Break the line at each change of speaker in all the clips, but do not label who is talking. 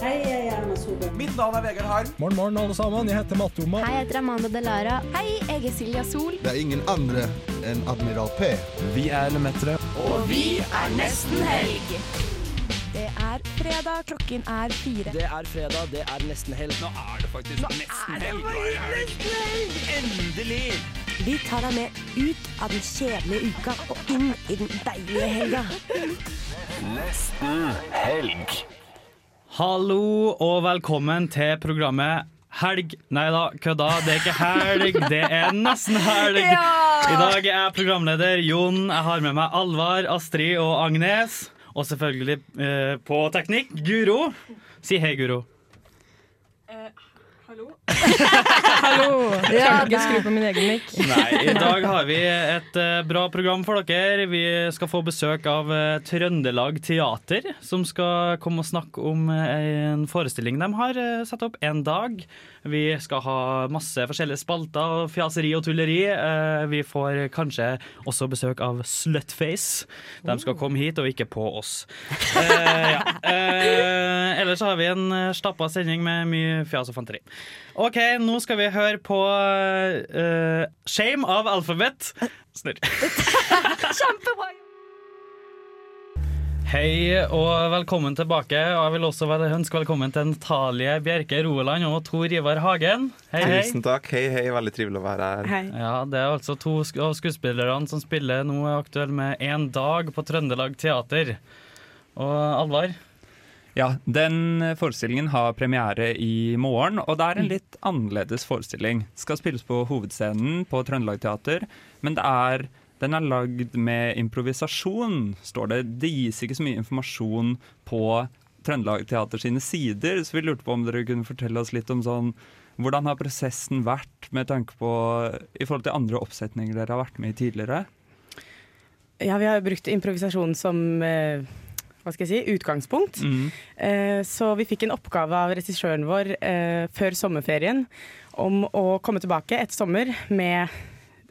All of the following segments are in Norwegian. Hei, jeg er Erna Solberg.
Mitt navn er Vegard Harm.
Morgen, morgen, alle sammen. Jeg heter Matte Oma.
Hei, jeg heter Amanda Delara. Hei, jeg er Silja Sol.
Det er ingen andre enn Admiral P.
Vi er Lemetere.
Det er fredag, klokken er fire.
Det er fredag, det er nesten helg. Nå er det faktisk nesten helg. Endelig!
Vi tar deg med ut av den kjedelige uka og inn i den deilige helga.
Hallo og velkommen til programmet Helg Nei da, kødda. Det er ikke helg, det er nesten helg. I dag er jeg programleder Jon. Jeg har med meg Alvar, Astrid og Agnes. Og selvfølgelig eh, på teknikk Guro. Si hei, Guro.
Ja,
Ikke skru på min egen mic.
Nei, I dag har vi et eh, bra program for dere. Vi skal få besøk av eh, Trøndelag Teater, som skal komme og snakke om eh, en forestilling de har eh, satt opp en dag. Vi skal ha masse forskjellige spalter og fjaseri og tulleri. Eh, vi får kanskje også besøk av Slutface. De skal komme hit og ikke på oss. Eh, ja. eh, ellers så har vi en eh, stappa sending med mye fjas og fanteri. Ok, nå skal vi høre på eh, Shame av Alphabet. Snurr. Kjempebra! Hei og velkommen tilbake. Og jeg vil også vel- ønske velkommen til Natalie Bjerke Roland og Tor Ivar Hagen. Hei, hei.
Tusen takk. Hei, hei. Veldig trivelig å være her.
Ja, Det er altså to sk av skuespillerne som spiller nå er aktuell med Én dag på Trøndelag Teater. Og Alvar,
Ja, den forestillingen har premiere i morgen, og det er en litt annerledes forestilling. Skal spilles på hovedscenen på Trøndelag Teater, men det er, den er lagd med improvisasjon, står det. Det gis ikke så mye informasjon på Trøndelag Teater sine sider, så vi lurte på om dere kunne fortelle oss litt om sånn hvordan har prosessen vært med tanke på i forhold til andre oppsetninger dere har vært med i tidligere?
Ja, vi har jo brukt improvisasjon som eh, hva skal jeg si, utgangspunkt. Eh, så vi fikk en oppgave av regissøren vår eh, før sommerferien om å komme tilbake etter sommer med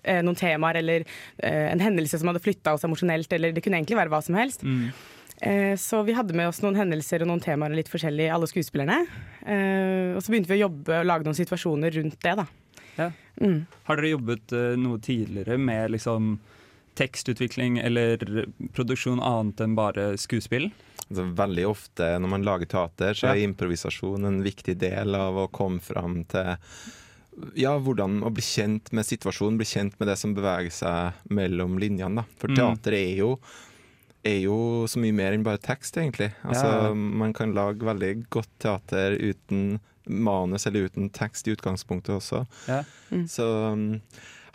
eh, noen temaer eller eh, en hendelse som hadde flytta oss emosjonelt, eller det kunne egentlig være hva som helst.
Mm.
Mm.
Eh, Så vi hadde med oss noen hendelser og noen temaer litt forskjellig, alle skuespillerne. Eh, Og så begynte vi å jobbe og lage noen situasjoner rundt det, da.
Ja. Har dere jobbet eh, noe tidligere med liksom tekstutvikling eller produksjon annet enn bare skuespill?
Altså, veldig ofte når man lager teater, så er
Ja.
improvisasjon en viktig del av å komme fram til ja, hvordan å bli kjent med situasjonen, bli kjent med det som beveger seg mellom linjene. Da. For
Mm.
teater er jo, er jo så mye mer enn bare tekst, egentlig. Altså,
Ja.
Man kan lage veldig godt teater uten manus eller uten tekst i utgangspunktet også.
Ja.
Så um,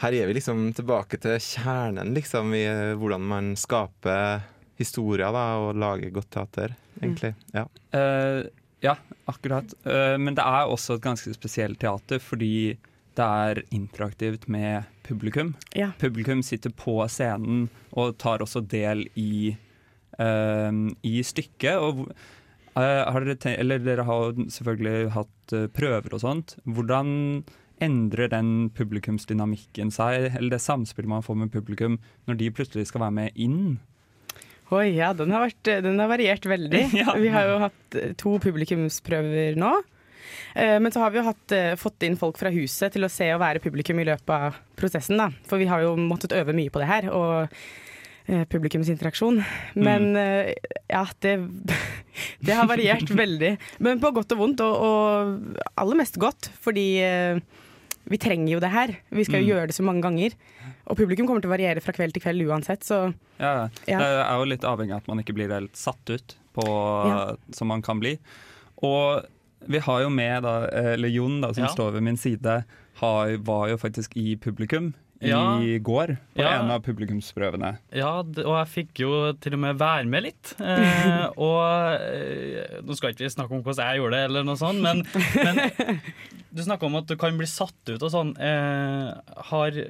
her er vi liksom tilbake til kjernen, liksom, i eh, hvordan man skaper historier da, og lager godt teater,
Mm.
egentlig. Ja.
Eh, ja, akkurat. Eh, men det er også et ganske spesielt teater fordi det er interaktivt med publikum.
Ja.
Publikum sitter på scenen og tar også del i, eh, i stykket. Og hvor- eh, har dere, te- eller dere har jo selvfølgelig hatt eh, prøver og sånt. Hvordan endrer den publikumsdynamikken seg, eller det samspillet man får med publikum, når de plutselig skal være med inn?
Oi, ja, den har, vært, den har variert veldig.
Ja.
Vi har jo hatt eh, to publikumsprøver nå. Eh, Men så har vi jo hatt, eh, fått inn folk fra huset til å se og være publikum i løpet av prosessen. Da. For vi har jo måttet øve mye på det her, og eh, publikumsinteraksjon. Men eh, ja, det, det har variert veldig. Men på godt og vondt, og, og aller mest godt, fordi eh, vi trenger jo det her. Vi skal jo gjøre det så mange ganger. Og publikum kommer til å variere fra kveld til kveld uansett, så
Ja,
Ja.
Det er jo litt avhengig av at man ikke blir helt satt ut på,
Ja.
som man kan bli. Og vi har jo med, da, eller Jon da, som
Ja.
står ved min side, har, var jo faktisk i publikum
Ja.
i går på
Ja.
en av publikumsprøvene.
Ja, d- og jeg fikk jo til og med være med litt. Eh, og eh, nå skal ikke vi snakke om hvordan jeg gjorde det, eller noe sånt, men, men du snakker om at du kan bli satt ut og sånn. Eh, har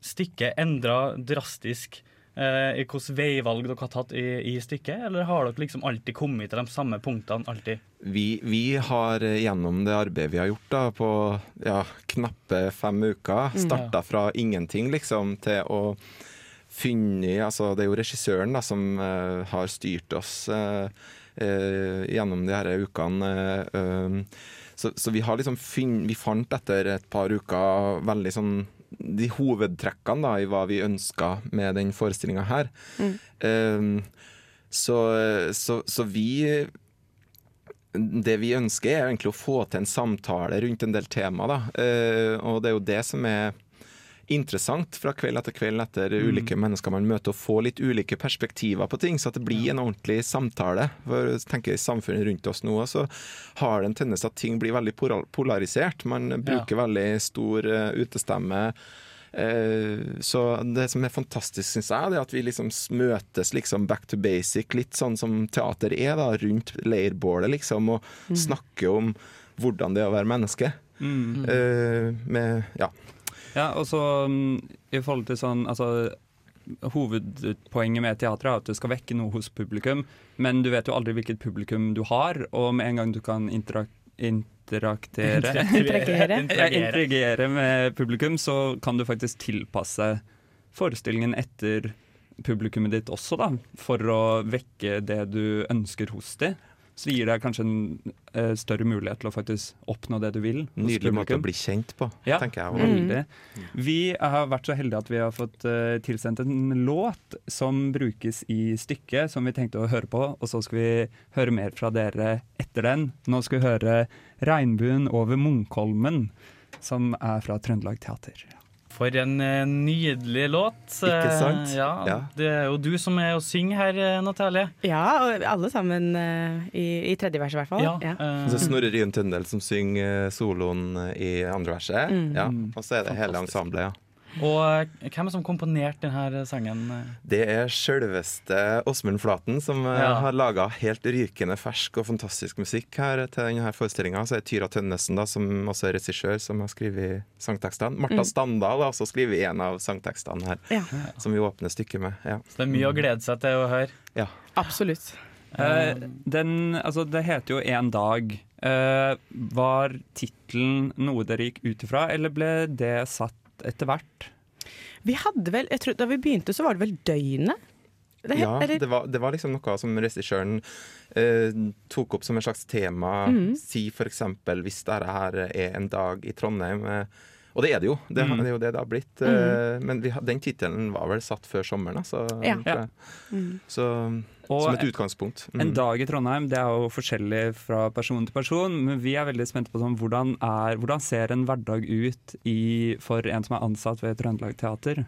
stykket endra drastisk eh, i hvilke veivalg dere har tatt i, i stykket, eller har dere liksom alltid kommet til de samme punktene alltid?
Vi, vi har eh, gjennom det arbeidet vi har gjort da, på ja, knappe fem uker, starta fra ingenting liksom, til å funnet altså Det er jo regissøren da, som eh, har styrt oss eh, eh, gjennom de her ukene. eh, um, så, så vi har liksom funn, vi fant etter et par uker veldig sånn de hovedtrekkene da, i hva vi ønska med den forestillinga her. Um, så, så, så vi det vi ønsker er egentlig å få til en samtale rundt en del tema. Da. Eh, og det er jo det som er interessant fra kveld etter kveld etter ulike mennesker man møter, og få litt ulike perspektiver på ting, så at det blir en ordentlig samtale. For jeg tenker i samfunnet rundt oss nå, så har det en tendens at ting blir veldig poral- polarisert. Man bruker veldig stor eh, utestemme. Eh, Så det som er fantastisk, syns jeg, det er at vi liksom møtes liksom back to basic, litt sånn som teater er, da, rundt leirbålet, liksom, og snakker om hvordan det er å være menneske.
Mm.
Mm.
Eh, med Ja.
Ja, og så mm, i forhold til sånn altså, Hovedpoenget med teatret er at det skal vekke noe hos publikum, men du vet jo aldri hvilket publikum du har, og med en gang du kan interak interaktere
Interagere.
ja, interagere med publikum, så kan du faktisk tilpasse forestillingen etter publikummet ditt også, da, for å vekke det du ønsker hos dem. Så det gir deg kanskje en eh, større mulighet til å faktisk oppnå det du vil. hos
Nydelig måte
publikum.
å bli kjent på,
Ja.
tenker
Mm.
jeg. også.
Veldig. Vi har vært så heldige at vi har fått eh, tilsendt en låt som brukes i stykket, som vi tenkte å høre på, og så skal vi høre mer fra dere etter den. Nå skal vi høre 'Regnbuen over Munkholmen', som er fra Trøndelag Teater.
For en eh, nydelig låt.
Ikke sant?
Eh, Ja,
Ja.
Det er jo du som er og synger her, eh, Natalie.
Ja, og alle sammen eh, i, i tredje vers i hvert fall. Ja.
eh,
Og Så er Snorre Ryen Tøndel som synger eh, soloen eh, i andre verset. Ja. Og så er det hele ensemblet, ja.
og eh, hvem er det som komponerte denne eh, sangen?
Det er sjølveste Åsmund Flaten som eh,
Ja.
har laga helt rykende fersk og fantastisk musikk her til denne forestillinga. Så er det Tyra Tønnesen, da, som også er regissør, som har skrevet sangtekstene. Marta Standal har også skrevet en av sangtekstene her,
Mm. Ja.
som vi åpner stykket med. Ja.
Så det er mye å glede seg til å høre.
ja.
Absolutt.
Eh, den, altså, det heter jo 'Én dag'. Eh, var tittelen noe dere gikk ut ifra, eller ble det satt etter hvert?
Vi hadde vel, jeg tror, Da vi begynte, så var det vel døgnet? Det,
ja
eller-
det, var, det var liksom noe som regissøren eh, tok opp som et slags tema.
Mm.
Si for eksempel hvis dette her er en dag i Trondheim. Eh, og det er det jo, det,
Mm.
det er jo det det har blitt. Eh, men vi, har- den tittelen var vel satt før sommeren, altså.
Mm. Ja. Mm.
tror jeg. Så,
Og
som et utgangspunkt. Mm.
En dag i Trondheim det er jo forskjellig fra person til person, men vi er veldig spente på sånn, hvordan, er, hvordan ser en hverdag ut i, for en som er ansatt ved Trøndelag Teater?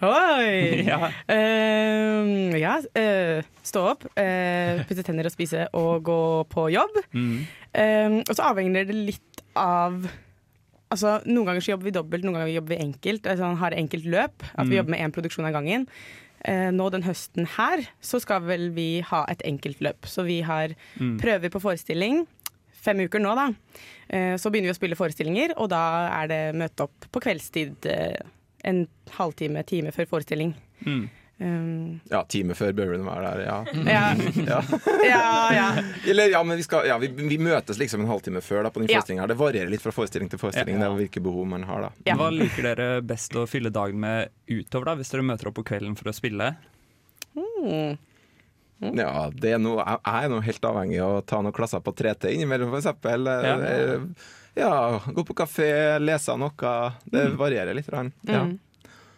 Oi!
Ja.
Ehm, ja eh, stå opp, eh, pusse tenner og spise og gå på jobb.
Mm.
Ehm, og så avhenger det litt av Altså, Noen ganger så jobber vi dobbelt, noen ganger jobber vi enkelt. Altså, har enkelt løp, At vi jobber med én produksjon av gangen. Eh, nå den høsten her så skal vel vi ha et enkelt løp. Så vi har prøver på forestilling. Fem uker nå, da. Eh, så begynner vi å spille forestillinger, og da er det møte opp på kveldstid eh, en halvtime, time før forestilling. Um,
Ja, time før bør den være der, ja.
Mm. ja. ja,
Ja.
ja.
Eller, ja, men vi, skal, ja, vi, vi møtes liksom en halvtime før da, på den
Ja.
forestillingen her. Det varierer litt fra forestilling til forestilling, det er hvilke behov man har da.
Ja.
Hva liker dere best å fylle dagen med utover, da, hvis dere møter opp på kvelden for å spille?
mm.
Ja, det er noe, jeg- jeg er nå helt avhengig av å ta noen klasser på 3T innimellom, for eksempel.
Ja.
Eh, Ja, gå på kafé, lese noe. Det
Mm.
varierer litt. grann. Ja.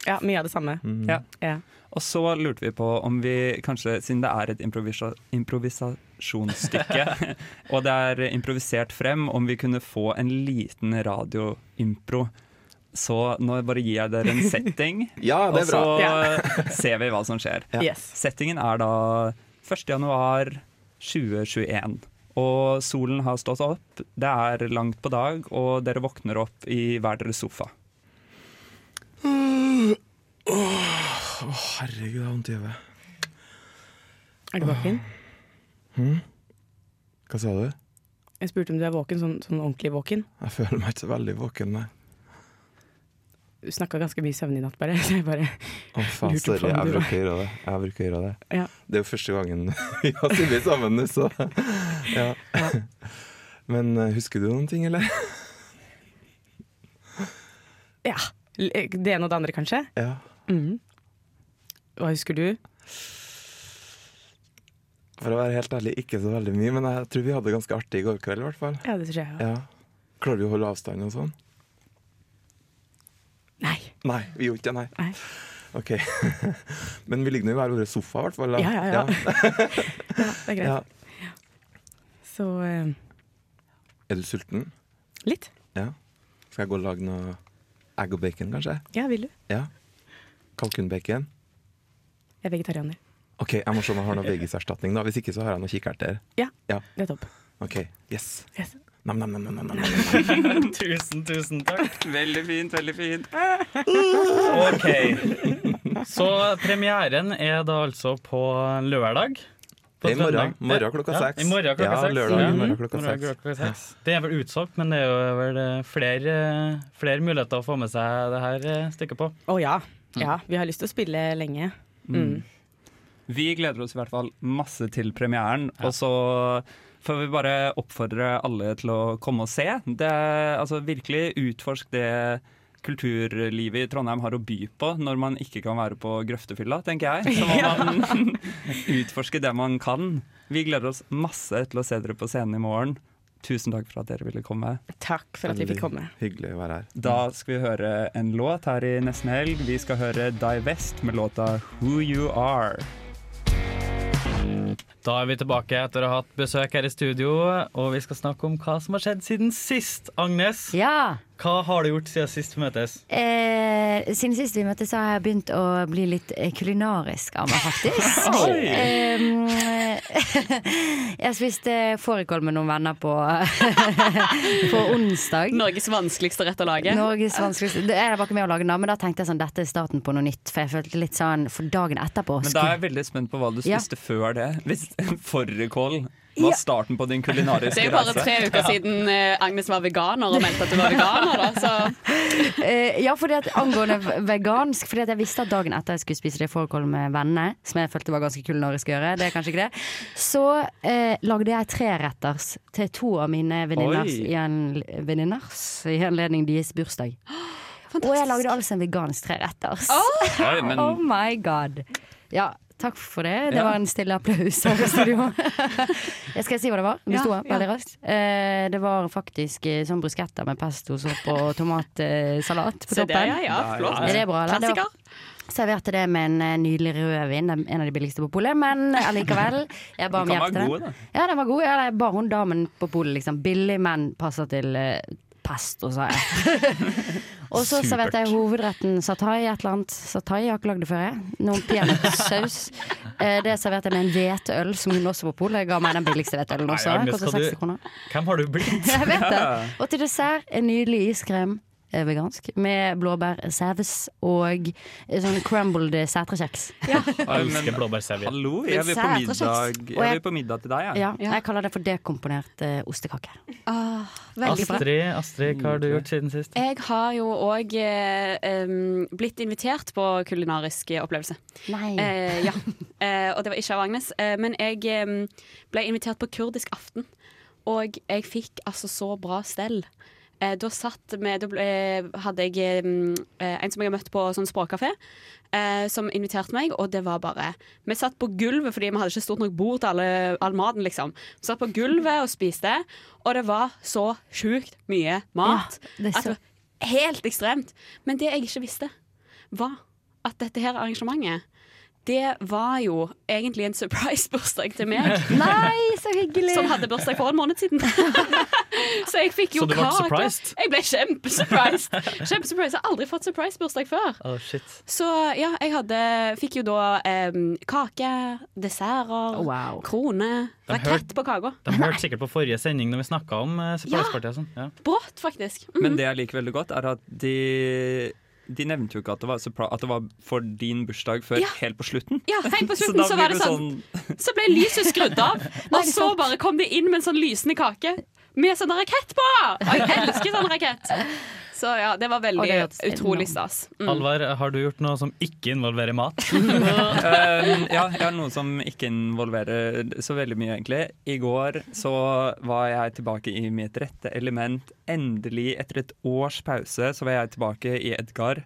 ja, mye av det samme.
Ja.
Ja.
Og så lurte vi på om vi kanskje, siden det er et improvisa improvisasjonsstykke, og det er improvisert frem, om vi kunne få en liten radioimpro. Så nå bare gir jeg dere en setting,
Ja,
og
det er
så
bra.
ser vi hva som skjer.
Yes.
Settingen er da 1. januar 2021. Og solen har stått opp, det er langt på dag, og dere våkner opp i hver deres sofa.
Herregud, jeg har vondt i hodet.
Er du våken?
Hm? Hva sa du?
Jeg spurte om du er våken, sånn, sånn ordentlig våken.
Jeg føler meg ikke så veldig våken, nei.
Du snakka ganske mye søvn i natt, bare. Så jeg bare
Å, faen,
Lurte på
sorry.
om
Jeg
du var-
bruker å gjøre det. Jeg bruker å gjøre det.
Ja.
Det er jo første gangen vi har sittet sammen nå, så ja. Men eh, husker du noen ting, eller? Mm.
ja. Det ene og det andre, kanskje.
Ja.
Hva husker du?
For å være helt ærlig, ikke så veldig mye, men jeg tror vi hadde det ganske artig i går kveld, i hvert fall.
Ja, det tror jeg.
Ja. Klarer vi å holde avstand og sånn?
Nei.
Nei, vi gjorde ikke det, nei.
Nei.
OK. men vi ligger nå i hver vår sofa, i hvert fall. da.
Ja, ja, ja. Ja, det er greit.
Ja.
Så eh,
Er du sulten?
litt.
Ja. Skal jeg gå og lage noe egg og bacon, kanskje?
Ja, vil du?
Ja. Kalkunbacon.
Jeg er vegetarianer.
OK, jeg må se om jeg har noe vegiserstatning, da. Hvis ikke så har jeg noe kikerter.
Ja,
Ja.
nettopp.
OK. Yes.
Yes.
Nam-nam-nam.
Tusen, tusen takk.
Veldig fint, veldig fint.
Ok. Så premieren er da altså på lørdag. På
I morgen,
Trøndelag.
morgen klokka
Ja,
seks.
I morgen klokka
Ja,
seks.
lørdag,
Mhm.
morgen klokka seks.
klokka seks. Det er vel utsolgt, men det er jo vel eh, flere, flere muligheter å få med seg det her eh, stykket på.
Å ja.
Mm.
Ja, vi har lyst til å spille lenge. Mm.
Vi gleder oss i hvert fall masse til premieren, og så får vi bare oppfordre alle til å komme og se. Det er, altså, virkelig utforsk det kulturlivet i Trondheim har å by på når man ikke kan være på grøftefylla, tenker jeg. Så må man utforske det man kan. Vi gleder oss masse til å se dere på scenen i morgen. Tusen takk for at dere ville komme.
Takk for at vi fikk komme.
Hyggelig å være her.
Da skal vi høre en låt her i nesten helg. Vi skal høre Die West med låta Who You Are.
Da er vi tilbake etter å ha hatt besøk her i studio, og vi skal snakke om hva som har skjedd siden sist. Agnes,
Ja.
hva har du gjort siden sist vi møtes?
Eh, siden sist vi møttes, så har jeg begynt å bli litt eh, kulinarisk av meg, faktisk. Eh, jeg spiste fårikål med noen venner på, på onsdag.
Norges vanskeligste rett å lage.
Norges vanskeligste Det er jeg var ikke med å lage den, da, men da tenkte jeg sånn dette er starten på noe nytt. For jeg følte litt sånn For dagen etterpå
Men da er
skulle
jeg veldig spent på hva du
Ja.
spiste før det. Hvis fårikål var starten på din kulinariske
Det er jo bare
reise.
tre uker siden eh, Agnes var veganer og meldte at du var veganer. Da. Så
Eh, ja, fordi at angående v- vegansk Fordi at jeg visste at dagen etter jeg skulle spise det fårikål med vennene, som jeg følte var ganske kulinarisk å gjøre, det er kanskje ikke det, så eh, lagde jeg treretters til to av mine venninners
Oi.
i, en- venninners i anledning deres bursdag. Og jeg lagde altså en vegansk treretters. Oh,
Oi, men
my god. Ja, takk for det. Det
Ja.
var en stille applaus her i studio. jeg skal si hva det var. Det
Ja,
sto her
ja.
veldig raskt. Eh, det var faktisk eh, sånn brusketter med pesto, sopp og tomatsalat på
se
toppen.
det, ja. ja flott.
Er det bra, eller? Det var-
Klassiker.
Serverte det med en eh, nydelig rødvin, den- en av de billigste på polet, men eh, allikevel. Jeg ba om
Den kan
hjelp
være
til
god,
den. Ja, den var god. Ja, jeg ba hun damen på polet, liksom. Billig, men passer til eh, pesto, sa jeg. Og så
Supert.
serverte jeg hovedretten satai, et eller annet. Satai jeg har ikke lagd det før, jeg. Noen peanøttsaus. Eh, Det serverte jeg med en hveteøl, som hun også på polet ga meg den billigste hveteølen også.
Nei, Agnes,
Kostet
skal du-
60 kroner.
Hvem har du blitt?
Jeg vet det. Og til dessert en nydelig iskrem. eh, Vegansk, med blåbær, saus og eh, sånn crumbled sætrekjeks.
Oi, men-
Elsker blåbærsevier.
Hallo, jeg vil, på
sætre
middag,
kjeks. Og
jeg
jeg-
vil på middag til deg, jeg.
Ja, jeg kaller det for dekomponert eh, ostekake.
Ah, veldig bra.
Astrid, Astrid, hva har du gjort siden sist?
Jeg har jo òg eh, em, blitt invitert på kulinarisk opplevelse.
Nei.
Eh, ja. Eh, og det var ikke av Agnes. Eh, men jeg em, ble invitert på kurdisk aften, og jeg fikk altså så bra stell. Eh, da satt vi Da ble, eh, hadde jeg em, eh, en som jeg har møtt på sånn språkkafé, eh, som inviterte meg, og det var bare Vi satt på gulvet fordi vi hadde ikke stort nok bord til alle, all maten, liksom. Vi satt på gulvet og spiste, og det var så sjukt mye mat.
Ja, det er
at
så-
det var helt ekstremt. Men det jeg ikke visste, var at dette her arrangementet det var jo egentlig en surprise-bursdag til meg,
Nei, så hyggelig!
som hadde bursdag for en måned siden. Så jeg fikk jo
Så du ble
kake.
surprised?
Jeg ble kjempesurprised. Kjempesurprised. Jeg har aldri fått surprise-bursdag før.
Oh,
Å, shit.
Så ja, jeg hadde, fikk jo da em, kake, desserter,
Oh, wow.
krone,
De
rakett på kaka.
De hørte sikkert på forrige sending når vi snakka om eh, surprise-party og sånn. Ja.
Brått, faktisk. Mm.
Men det jeg liker veldig godt, er at de de nevnte jo ikke at det, var surpri- at det var for din bursdag før
Ja.
helt på slutten.
Ja, helt på slutten
da
så, var
blir
det sånn, Så ble lyset skrudd av, og så bare kom det inn med en sånn lysende kake med sånn rakett på! Og jeg elsker sånn rakett! Så ja, det var veldig
Og det hørtes
utrolig
enormt.
stas. Mm.
Alvar, har du gjort noe som ikke involverer mat?
Eh, ja, jeg har noe som ikke involverer så veldig mye, egentlig. I går så var jeg tilbake i mitt rette element. Endelig, etter et års pause, så var jeg tilbake i Edgar.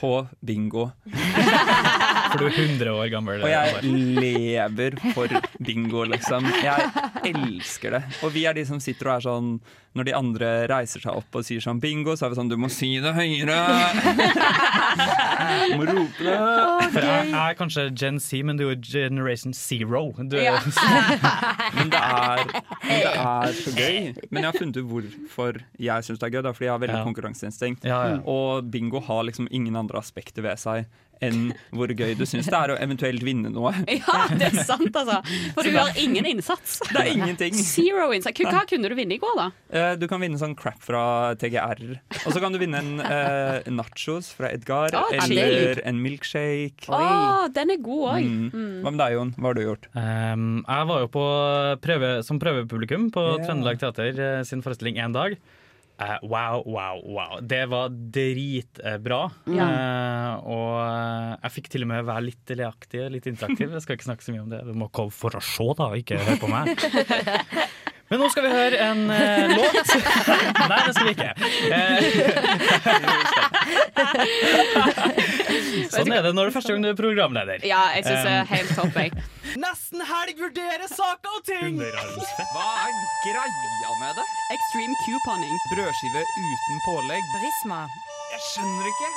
på bingo.
For du er 100 år gammel.
Og jeg lever for bingo, liksom. Jeg elsker det. Og vi er de som sitter og er sånn Når de andre reiser seg opp og sier sånn bingo, så er vi sånn Du må si det høyere! Du må rope det!
For jeg, jeg er kanskje Gen Z, men du er Generation Zero. Du er,
Ja. Men det er, men det er så gøy. Men jeg har funnet ut hvorfor jeg syns det er gøy. Det er fordi jeg har veldig
Ja.
konkurranseinstinkt.
Ja, ja.
Og bingo har liksom ingen andre aspekter ved seg enn hvor gøy du syns det er å eventuelt vinne noe.
Ja, det er sant, altså. For du har ingen innsats.
Det er ingenting.
Zero innsats. Hva hva kunne du vinne i går, da?
Eh, Du kan vinne sånn crap fra TGR. Og så kan du vinne en eh, nachos fra Edgar,
Å,
eller
digg.
en milkshake.
Å, den er god òg.
Mm. Hva med deg, Jon? Hva har du gjort?
Um, jeg var jo på prøve, som prøvepublikum på
Ja.
Trøndelag Teater eh, sin forestilling én dag. Eh, wow, wow, wow. Det var dritbra.
Ja.
Eh, og eh, jeg fikk til og med være litt leaktig litt interaktiv. Jeg skal ikke snakke så mye om det. Du må komme for å se, da, ikke høre på meg. Men nå skal vi høre en eh, låt. Nei, det skal vi ikke. Eh, sånn er det når det er første gang du er programleder.
Ja, jeg syns det er
Um,
helt topp, jeg.
Nesten helg vurderer saker og ting!
Hva er greia med det?
Extreme couponing.
Brødskive uten pålegg.
Prisma.
Jeg skjønner ikke.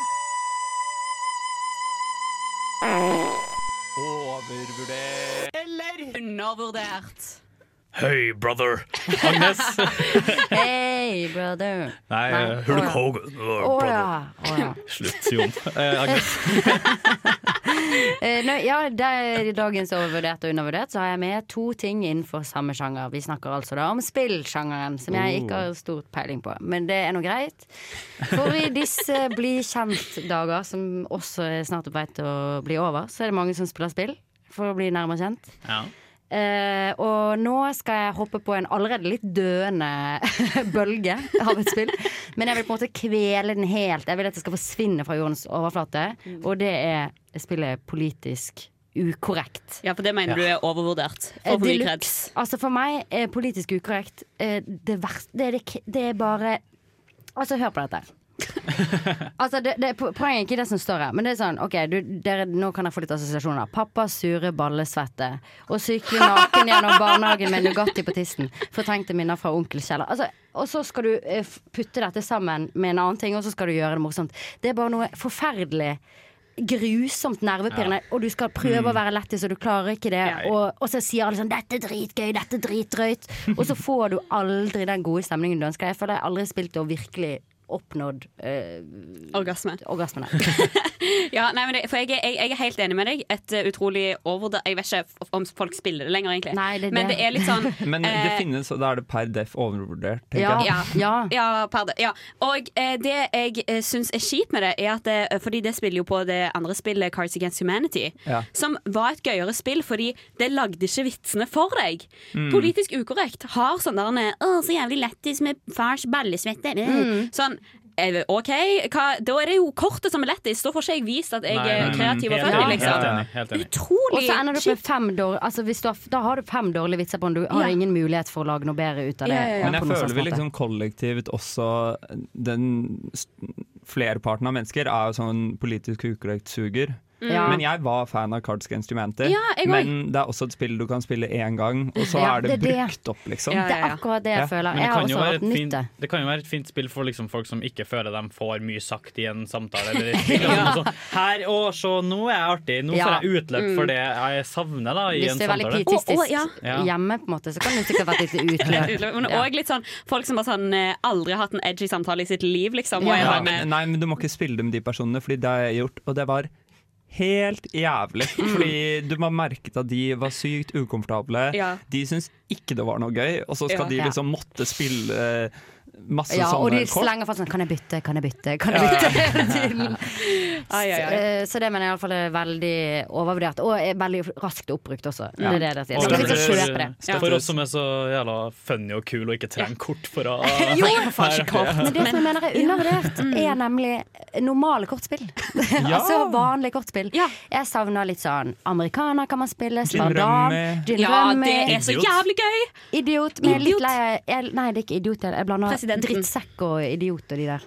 Overvurdert.
Eller undervurdert.
Hey, brother. Agnes.
Hey, brother.
Nei, eh,
Nei.
Hulk
Å, ja.
Hogan. Å,
Å
brother.
ja. Å, ja.
Slutt, Jon. Eh, Agnes.
Eh, nå, ja, det er dagens overvurdert og undervurdert, så har jeg med to ting innenfor samme sjanger. Vi snakker altså da om spillsjangeren, som jeg ikke har stort peiling på. Men det er nå greit. For i disse bli kjent-dager, som også er snart på vei til å bli over, så er det mange som spiller spill for å bli nærmere kjent. Eh, og nå skal jeg hoppe på en allerede litt døende bølge av et spill. Men jeg vil på en måte kvele den helt. Jeg vil at det skal forsvinne fra jordens overflate.
Mm.
Og det er spillet politisk ukorrekt.
Ja, for det mener
Ja.
du er overvurdert.
Eh,
Får for mye
deluxe.
kreds.
Altså for meg er politisk ukorrekt eh, det verste det, er det, k- det er bare Altså, hør på dette. altså, det, det, po- poenget er ikke det som står her, men det er sånn OK, du, dere, nå kan jeg få litt assosiasjoner. Pappa sure ballesvette. Og sykle naken gjennom barnehagen med Nugatti på tissen. Fortrengte minner fra onkel Kjeller. Altså, og så skal du eh, f- putte dette sammen med en annen ting, og så skal du gjøre det morsomt. Det er bare noe forferdelig. Grusomt nervepirrende,
Ja.
og du skal prøve
Mm.
å være lettis, og du klarer ikke det. Og, og så sier alle sånn 'dette er dritgøy, dette er dritdrøyt'. Og så får du aldri den gode stemningen du ønsker. Jeg føler jeg har aldri spilt og virkelig oppnådd eh,
Orgasme.
orgasmene.
Ja, nei, men det, for jeg, er- jeg, jeg er helt enig med deg. Et eh, utrolig overvurdert Jeg vet ikke om folk spiller det lenger, egentlig.
det er
men
det.
det er litt sånn
Men det
eh,
finnes, og da er det per def overvurdert,
Ja.
tenker jeg.
Ja. per det. Ja. Og eh, det jeg eh, syns er kjipt med det, er at det, fordi det spiller jo på det andre spillet, Cards Against Humanity,
Ja.
som var et gøyere spill fordi det lagde ikke vitsene for deg.
Mm.
Politisk ukorrekt har sånn der en, Å, så jævlig lættis med fars ballesvette.
Mm.
Sånn. eh, OK, hva, da er det jo kortet som er lættis. Da får ikke jeg vist at jeg
Nei, nei,
er
nei.
kreativ og
Helt
funny,
enig,
liksom.
helt enig,
Utrolig
Og så ender du opp med fem dårlige altså hvis du har, Da har du fem dårlige vitser på den. Du har
Ja.
ingen mulighet for å lage noe bedre ut av det.
Men jeg
på noen
føler
slags
vi
måte.
liksom kollektivt også den s- Flerparten av mennesker er jo sånn politisk ukorrekt suger.
Mm. Ja.
Men jeg var fan av Cards Against Humanity.
Ja, jeg
men det er også et spill du kan spille én gang, og så
Ja,
er det,
det er det.
brukt opp, liksom.
Det er akkurat det jeg føler.
Men det
Jeg har
kan jo
også
være
hatt
et
nytte.
fint- Det kan jo være et fint spill for liksom folk som ikke føler de får mye sagt i en samtale. Eller et spill, eller noe sånt. Her, å, se, nå er jeg artig. Nå
Ja.
får jeg utløp
Mm.
for det jeg savner da, i
Hvis
en
det er veldig
samtale.
pietistisk
Ja.
hjemme, på en måte, så kan det sikkert være et lite
Litt utløp,
utløp.
Men
Ja.
òg litt sånn folk som bare sånn eh, aldri har hatt en edgy samtale i sitt liv, liksom. Og
Ja,
er bare
men, nei, men du må ikke spille det med de personene, Fordi det har jeg gjort, og det var helt jævlig.
Mm.
Fordi du må merket at de var sykt ukomfortable.
Ja.
De syntes ikke det var noe gøy, og så skal
Ja.
de
Ja.
liksom måtte spille eh, masse
Ja, og
sånne
de
kort.
slenger fast sånn 'Kan jeg bytte? Kan jeg bytte?' Kan
Ja,
jeg
ja, ja.
bytte? til-
Ai, ai, ai.
Eh, Så det mener jeg iallfall er veldig overvurdert, og er veldig raskt oppbrukt også.
Ja.
Det er det det sier.
Og
Så hvis jeg
for-
kjøper det.
For oss som er så jævla funny og kul og ikke trenger kort for å
Jo,
Her-
men det som jeg mener er undervurdert, er nemlig normale kortspill.
Ja.
altså vanlige kortspill. Jeg savner litt sånn amerikaner kan man spille,
Gin
spardam,
rummy.
gin
Ja,
rummy.
det er så Idiot. jævlig gøy!
Idiot, men jeg er litt
Idiot.
lei jeg- Nei, det er ikke idiot, jeg jeg blander
presidenten.
Drittsekk og idiot og de der.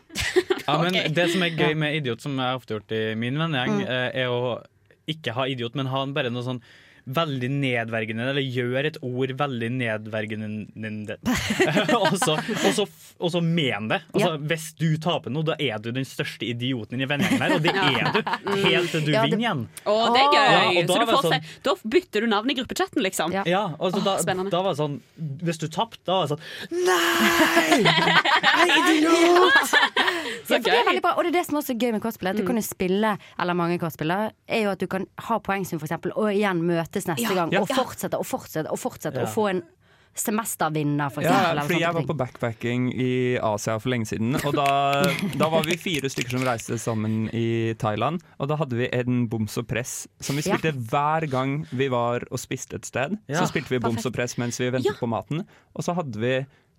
Ja, men
Ok.
Det som er
Ja.
gøy med idiot, som jeg har ofte gjort i min vennegjeng,
Mm.
eh, er å ikke ha idiot, men ha bare noe sånn veldig nedvergende, eller gjør et ord veldig nedvergende. og, så, og, så, og så men det. Altså, Hvis du taper noe, da er du den største idioten i vennegjengen her, og det er du helt til du
Ja, det-
vinner igjen.
Å, det er gøy!
Ja, og da
så du
er det
får
sånn-
se, da bytter du navn i gruppechatten, liksom.
Ja, og så
Åh,
da,
spennende.
da var det sånn Hvis du tapte, da var det sånn
Ja, for det er veldig bra, og det er det som også er gøy med cosplay.
Mm.
At du kan jo spille, eller mange cosplayer, er jo at du kan ha poengsum, for eksempel, og igjen møtes neste
Ja,
gang,
ja.
og fortsette og fortsette og fortsette,
Ja.
og få en semestervinner, for
Ja,
eksempel. eller
fordi
sånne
jeg var
ting.
på backpacking i Asia for lenge siden. Og da, da var vi fire stykker som reiste sammen i Thailand. Og da hadde vi en boms og press som vi
Ja.
spilte hver gang vi var og spiste et sted.
Ja.
Så spilte vi boms og press mens vi ventet på maten. Og så hadde vi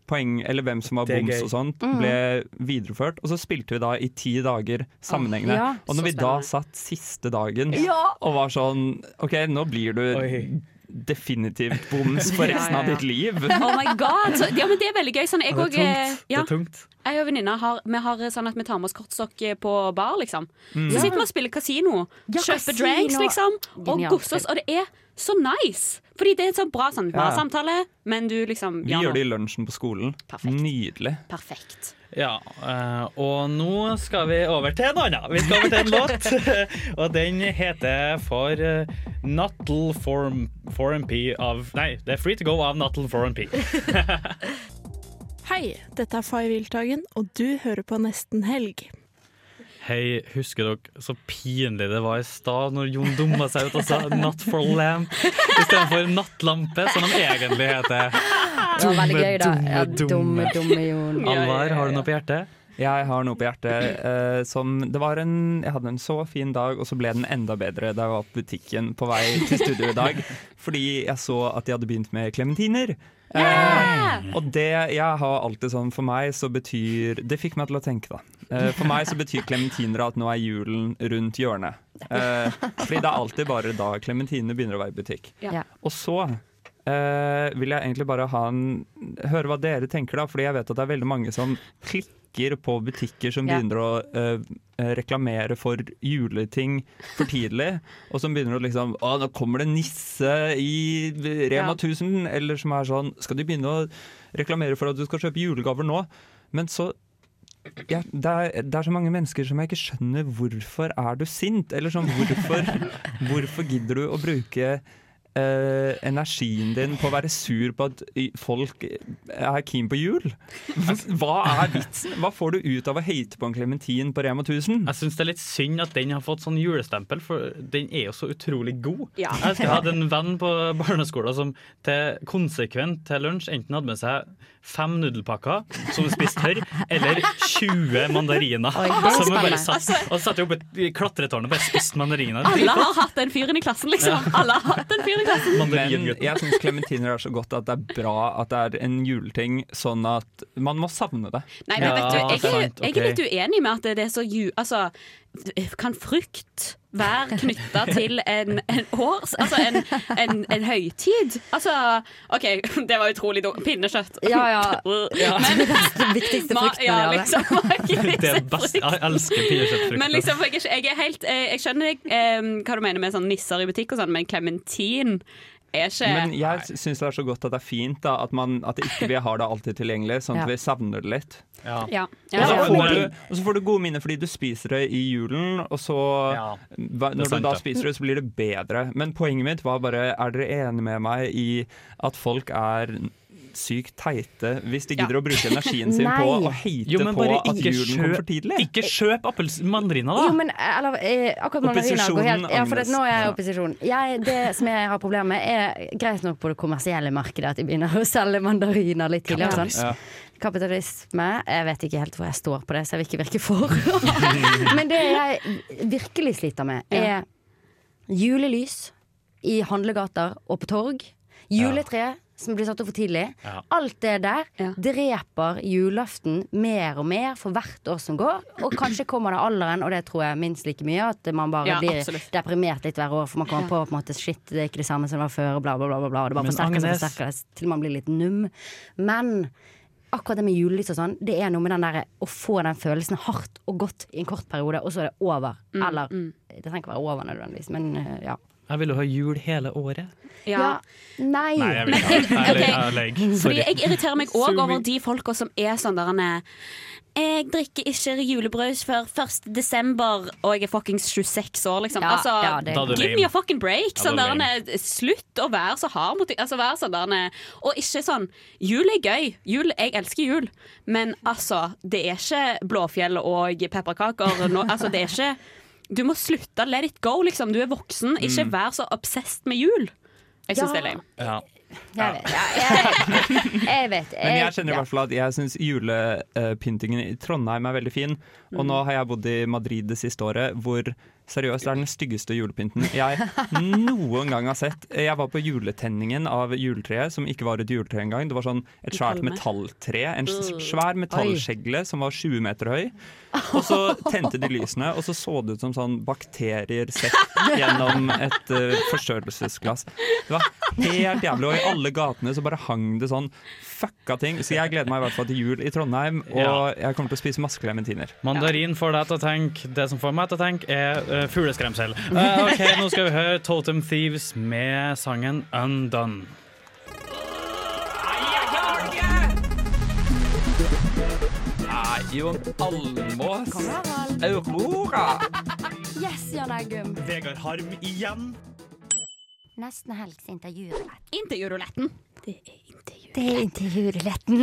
poeng, eller hvem som var
Det er
boms
gøy.
og sånt,
Mm.
ble videreført. Og så spilte vi da i ti dager sammenhengende.
Åh, ja,
og når
så
vi da satt siste dagen
Ja.
og var sånn OK, nå blir du definitivt boms for
Ja,
resten
ja,
av
ja.
ditt liv.
Oh my god! Så, ja, men det er veldig gøy. Sånn, jeg,
Ja,
og,
det er
eh,
tungt.
ja,
Det er tungt.
jeg og venninna har, vi har eh, sånn at vi tar med oss kortstokk eh, på bar, liksom.
Mm.
Så sitter vi og spiller kasino,
Ja,
kjøper
kasino.
drinks, liksom, og
Genialt
godser oss. Og det er så nice! Fordi det er et sånn bra sånn,
Ja.
barsamtale, men du liksom
Vi gjør det i lunsjen på skolen. Nydelig.
Perfekt.
Ja, eh, og nå skal vi over til en annen. Vi skal over til en låt, og den heter for eh, Nuttall Form, Form P av Nei, det er Free To Go av Nuttall Form P.
Hei, dette er Fay Wiltagen, og du hører på Nesten Helg.
Hei, husker dere så pinlig det var i stad når Jon dumma seg ut og sa 'Not for lamp' istedenfor 'nattlampe', som de egentlig heter.
Det var veldig gøy, da. Ja, dumme, dumme Jon.
Alvar, har du noe på hjertet?
Jeg har noe på hjertet. Eh, som, det var en, jeg hadde en så fin dag, og så ble den enda bedre da jeg var på butikken på vei til studio i dag. Fordi jeg så at de hadde begynt med klementiner. Eh, og det jeg har alltid sånn For meg så betyr Det fikk meg til å tenke, da. Eh, for meg så betyr klementiner at nå er julen rundt hjørnet. Eh, fordi det er alltid bare da klementinene begynner å være i butikk.
Ja.
Og så eh, vil jeg egentlig bare ha en, høre hva dere tenker, da, fordi jeg vet at det er veldig mange som klikker på butikker som
Ja.
begynner å eh, reklamere for juleting for tidlig, og som begynner å liksom Å, nå kommer det nisse i Rema
Ja.
1000! Eller som er sånn Skal de begynne å reklamere for at du skal kjøpe julegaver nå? Men så ja, det, er, det er så mange mennesker som jeg ikke skjønner hvorfor er du sint? Eller sånn, hvorfor, hvorfor gidder du å bruke eh, energien din på å være sur på at i- folk er keen på jul? Altså, Hva er vitsen? Hva får du ut av å hate på en klementin på Rema 1000?
Jeg syns det er litt synd at den har fått sånn julestempel, for den er jo så utrolig god.
Ja.
Jeg husker jeg hadde en venn på barneskolen som til konsekvent til lunsj enten hadde med seg fem nudelpakker som du spiste tørr, eller 20 mandariner.
Oi, det er
som hun bare
spennende. Altså-
satt, og så satt jeg oppe i klatretårnet og bare spiste mandariner.
Alle har hatt den fyren i klassen, liksom. Alle har hatt den fyren i klassen.
Men jeg syns klementiner er så godt at det er bra at det er en juleting, sånn at man må savne det.
Nei, men vet du, jeg, er- jeg er litt uenig med at det er så ju... Altså, kan frykt være knytta til en, en års... Altså en, en, en høytid? Altså, OK, det var utrolig dumt. Pinnekjøtt.
Ja, ja.
Men,
Den viktigste
Ma-
frykten
ja,
av det.
liksom,
Det er best. Jeg elsker pinnekjøttfrukt.
men liksom, for jeg, er ikke- jeg er helt eh, Jeg skjønner eh, hva du mener med sånn nisser i butikk og sånn, men klementin er ikke
Men jeg syns det er så godt at det er fint da, at, man, at det ikke vi har det alltid tilgjengelig, sånn at
Ja.
vi savner det litt.
Ja.
Og, så
Ja.
får du, og så får du gode minner fordi du spiser det i julen, og så hva,
det er
Når
sant,
du da
det.
spiser det, så blir det bedre. Men poenget mitt var bare Er dere enige med meg i at folk er sykt teite hvis de gidder å bruke energien sin på å hate
Jo, men
på
bare
at
ikke
julen
kjøp-
kommer for tidlig?
Ikke kjøp appels- mandariner, da!
Jo, men eller, eh, akkurat mandariner går
Opposisjonen,
helt Ja, for det, nå er jeg i
Agnes.
opposisjon. Jeg, det som jeg har problemer med, er greit nok på det kommersielle markedet at de begynner å selge mandariner litt tidligere. og
Kapitalisme.
Sånn. Kapitalisme Jeg vet ikke helt hvor jeg står på det, så jeg vil ikke virke for. men det jeg virkelig sliter med, er julelys i handlegater og på torg. Juletre som blir satt opp for tidlig.
Ja.
Alt det der dreper julaften mer og mer for hvert år som går. Og kanskje kommer det alderen, og det tror jeg minst like mye, at man bare
Ja,
blir
absolutt.
deprimert litt hver år. For man kommer på på en måte shit, det er ikke det samme som det var før, og bla, bla, bla. bla, bla og det bare
Men
forsterker seg
Agnes-
forsterker seg til man blir litt num. Men akkurat det med julelys og sånn, det er noe med den der, å få den følelsen hardt og godt i en kort periode, og så er det over. Eller det trenger ikke være over nødvendigvis, men eh, ja.
Jeg vil jo ha jul hele året.
Ja. Nei.
Nei, jeg vil ikke ha det. Jeg er
Ok.
lei- jeg er lei. Sorry.
Fordi jeg irriterer meg òg
Zoom
over
in.
de folka som er sånn der han er, Jeg drikker ikke julebrus før 1. desember, og jeg er fuckings 26 år, liksom.
Ja,
altså,
ja, det er Da er du
give
lame.
me a fucking break.
Ja, da er
Sånn
du
der han er, slutt å være så hard mot Altså, vær sånn der han er, Og ikke sånn Jul er gøy. Jul, jeg elsker jul. Men altså, det er ikke Blåfjell og pepperkaker. nå- altså, det er ikke Du må slutte. Let it go, liksom. Du er voksen. Ikke
Mm.
vær så obsessed med jul. Jeg syns det er lame.
Ja.
Jeg vet. Jeg, jeg, jeg vet.
Men
Eh,
jeg kjenner i
ja.
hvert fall at jeg syns julepyntingen i Trondheim er veldig fin. Og
Mm.
nå har jeg bodd i Madrid det siste året, hvor seriøst det er den styggeste julepynten jeg noen gang har sett. Jeg var på juletenningen av juletreet, som ikke var et juletre engang. Det var sånn et svært
Palme.
metalltre. En s-
Mm.
svær
Oi.
metallskjegle som var 20 meter høy. Og så tente de lysene, og så så det ut som sånn bakterier sett gjennom et eh, forstørrelsesglass. Det var helt jævlig, og i alle gatene så bare hang det sånn fucka ting. Så jeg gleder meg i hvert fall til jul i Trondheim, og
Ja.
jeg kommer til å spise masse klementiner.
Mandarin får deg til å tenke Det som får meg til å tenke, er eh, fugleskremsel. Eh, OK, nå skal vi høre Totem Thieves med sangen Undone.
Nei, Jon Almås. Aurora.
Yes, Jan Eggum.
Vegard Harm igjen.
Nesten helgs intervjurulett.
Intervjuruletten.
Det er intervjuruletten.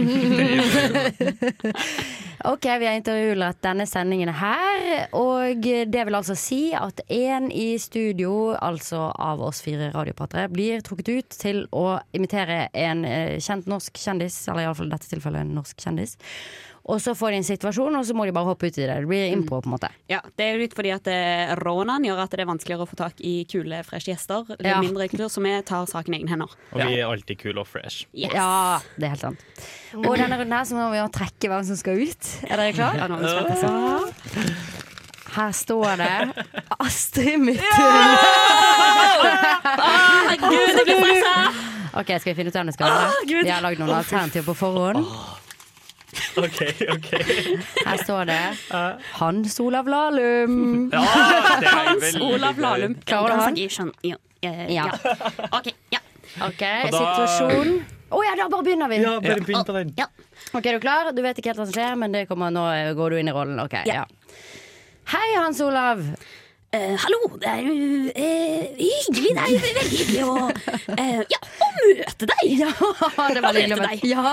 ok, vi har intervjuurulett denne sendingen her. Og det vil altså si at én i studio, altså av oss fire radiopratere, blir trukket ut til å imitere en eh, kjent norsk kjendis, eller iallfall i dette tilfellet en norsk kjendis. Og så får de en situasjon, og så må de bare hoppe ut i det. Det blir impro, på en måte.
Ja, Det er jo litt fordi at eh, ronaen gjør at det er vanskeligere å få tak i kule, freshe gjester. Litt
Ja.
mindre kultur, så vi tar saken i egne hender.
Og vi er alltid kule og fresh.
Yes.
Ja, det er helt sant. Og denne runden her så må vi jo trekke hvem som skal ut. Er dere klare? Ja, nå er vi spent, altså. Her står det Astrid
Å,
Midthun.
Gud, jeg blir stressa!
OK, skal vi finne ut hvem det skal være? Vi har lagd noen alternativer på forhånd.
OK, OK.
Her står det Hans Olav Lahlum.
Ja,
det er
Hans Olav Lahlum.
Klarer du han?
Jeg skjønner. Ja. Eh,
Ja.
ja. OK. ja.
OK,
Og da-
situasjon Å ja, da bare begynner vi.
Ja, bare begynn på den.
Ja.
OK, er du klar? Du vet ikke helt hva som skjer, men det kommer, nå eh, går du inn i rollen. OK.
Ja.
Ja. Hei, Hans Olav.
Eh, hallo, det er jo, eh, hyggelig. Det er jo veldig hyggelig å eh, Ja, å møte deg!
Ja, det var hyggelig å
Møte deg.
møte ja.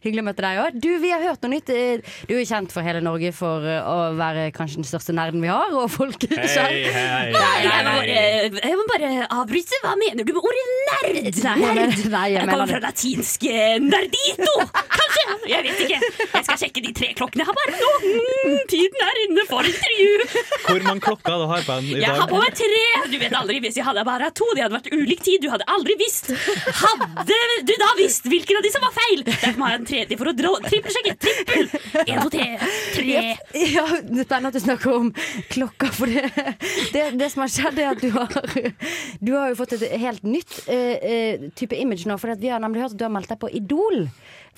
Hyggelig å møte deg òg. Du, vi har hørt noe nytt. Eh, Du er kjent for hele Norge for eh, å være kanskje den største nerden vi har, og folk
Hei,
hei.
Nei, jeg må bare, jeg må bare avbryte. Hva mener du med ordet nerd?
Nei, jeg
Nerd?
mener- nei, jeg
Det
mener
kommer
det.
fra latinsk eh, nerdito, kanskje? Jeg vet ikke. Jeg skal sjekke de tre klokkene her bare nå. Mm, tiden er inne for intervju.
Hvor mange klokker du har på den i
Jeg har
dag?
på meg tre! Du vet aldri hvis jeg hadde bare hatt to. Det hadde vært ulik tid. Du hadde aldri visst. Hadde du da visst hvilken av de som var feil? Derfor har jeg en tredje for å dra- trippelsjekke. Trippel! En, to, tre. Tre.
Ja, ja, det er spennende at du snakker om klokka, for det, det, det som har skjedd, er at du har, du har jo fått et helt nytt eh, eh, type image nå. For at vi har nemlig hørt at du har meldt deg på Idol.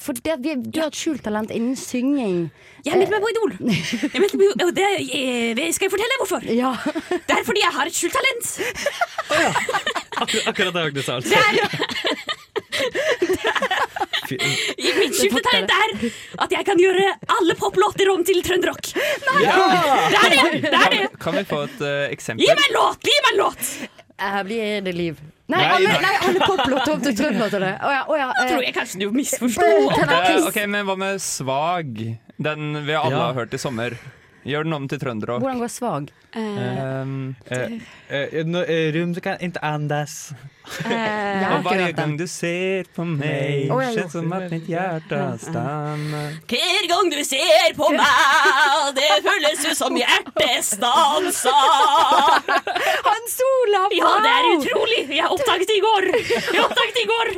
For det, vi, du har et skjult talent innen synging. Eh,
Jeg meldte meg på Idol. Jeg meldte meg, på- og det, eh, skal jeg fortelle hvorfor? Det er fordi jeg har et skjult talent.
Akkurat, akkurat det Agnes sa, altså.
Det er,
Fy-
mitt skjulte talent er at jeg kan gjøre alle poplåter om til trønderrock. Det er det! det, er det.
Kan, kan vi få et eh, eksempel?
Gi meg en låt! Gi meg en låt!
Her blir det liv. Nei,
Nei,
alle,
nei.
nei, alle poplåter om til trønderlåter. Å ja, å ja. eh,
Nå tror jeg kanskje du misforsto.
Eh, ok, Men hva med svag? Den vi alle har hørt i sommer. Gjør den om til trønderrock.
Hvordan eh, går svag?
Um,
Eh,
eh,
Rum kan ikke andes.
har ikke
og
hørt
hver
den.
gang du ser på meg,
Å, jeg
skjer som at mitt hjerte stammer
Hver gang du ser på meg, det føles ut som hjertet stanser.
Hans Olav!
Ja, det er
wow!
utrolig! Jeg oppdaget det i går. Jeg oppdaget det i går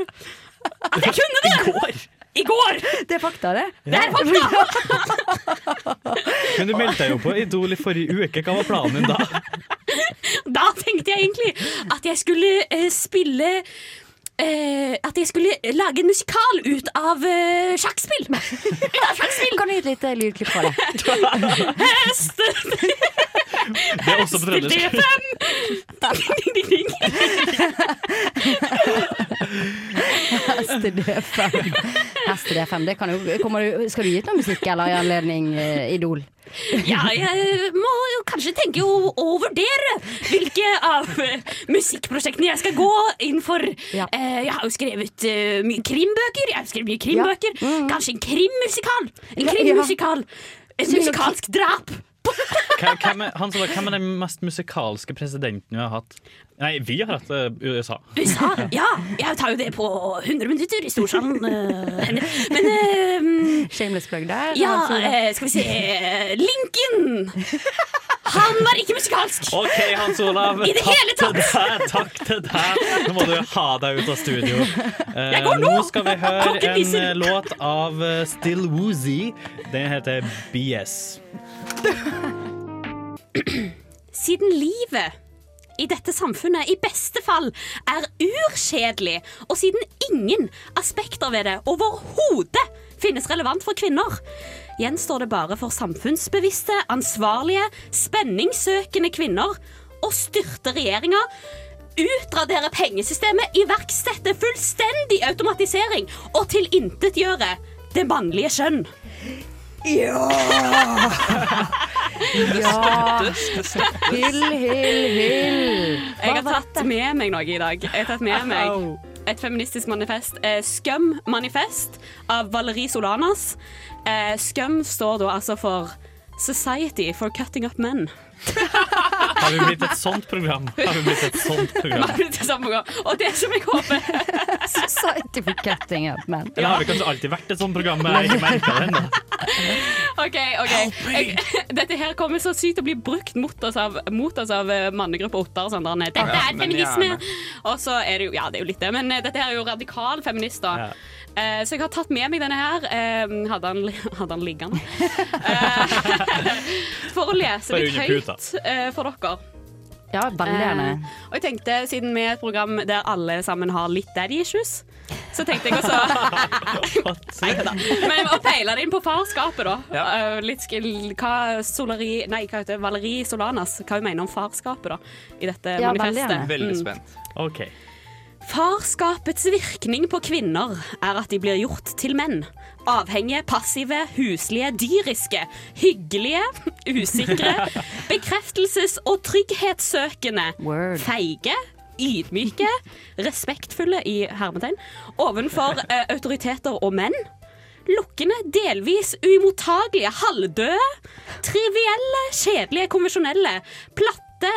at jeg kunne det! I går?
Det er fakta, det.
Det er fakta!
Men du meldte deg jo på Idol i forrige uke. Hva var planen din da?
Da tenkte jeg egentlig at jeg skulle eh, spille eh, at jeg skulle lage en musikal ut av eh, sjakkspill. Ut av sjakkspill!
Kan du gi et lite lydklipp fra
det? Hest!
Det er også på trøndersk.
Hestedøfen. Hestedøfen, det kan jo kommer du, Skal du gi ut noe musikk, eller i anledning eh, Idol?
Ja, jeg må jo kanskje tenke og, og vurdere hvilke av eh, musikkprosjektene jeg skal gå inn for. Eh, jeg har jo skrevet eh, mye krimbøker. Jeg har skrevet mye krimbøker. Kanskje en krimmusikal. En
Mm. Ja,
krimmusikal. Et
Syng noe
musikalsk drap.
Hvem- Hvem er, Hans Olav, hvem er den mest musikalske presidenten vi har hatt? Nei, vi har hatt eh, USA.
USA? Ja, jeg tar jo det på 100 minutter i storsalen. eh, Henrik. Men eh,
Shameless plug der.
Ja,
Hans Olav.
eh, skal vi se eh, Lincoln! Han var ikke musikalsk!
OK, Hans Olav.
I det
takk
hele tatt!
Til deg, takk til deg. Nå må du ha deg ut av studio. Eh,
Jeg går nå!
skal vi høre
Klokken
en
viser.
eh, låt av eh, Still Woozy. Den heter BS.
Siden livet i dette samfunnet i beste fall er urkjedelig, og siden ingen aspekter ved det overhodet finnes relevant for kvinner, gjenstår det bare for samfunnsbevisste, ansvarlige, spenningssøkende kvinner å styrte regjeringa, utradere pengesystemet, iverksette fullstendig automatisering og tilintetgjøre det mannlige kjønn.
Ja!
Ja.
Hyll, hyll, hyll.
Jeg har tatt med meg noe i dag. Jeg har tatt
Au.
med meg et feministisk manifest. Eh, Skum manifest av Valerie Solanas. Eh, Skum står da altså for Society for Cutting Up Men.
Har vi blitt et sånt program? Har vi blitt et sånt program?
Bare til samme gang. Og det som jeg håper
Society for cutting up, men.
Eller har vi kanskje alltid vært et sånt program? Men jeg har ikke merket det ennå.
OK. ok jeg, Dette her kommer så sykt å bli brukt mot oss av, mot oss av eh, mannegruppa Ottar. og sånn der. Dette
Ja,
er
men
feminisme!
gjerne.
Og så er det jo Ja, det er jo litt det, men eh, dette her er jo radikal feminist, da. Eh, så jeg har tatt med meg denne her. eh, hadde, han, li- hadde han liggende? Eh, for å lese
Bare
litt
under
høyt
puta.
eh, for dere.
Ja, veldig gjerne.
Eh, og jeg tenkte, siden vi er et program der alle sammen har litt daddy issues, så tenkte jeg også Neida. Men å peile det inn på farskapet, da. Eh, litt skil, hva Solari Nei, hva heter det? Valerie Solanas, hva hun mener om farskapet, da, i dette manifestet. Mm.
OK.
Farskapets virkning på kvinner er at de blir gjort til menn. Avhengige, passive, huslige, dyriske, hyggelige, usikre, bekreftelses- og trygghetssøkende, feige, ydmyke, respektfulle i hermetegn, ovenfor eh, autoriteter og menn. Lukkende, delvis uimottagelige, halvdøde, trivielle, kjedelige, konvensjonelle, platte,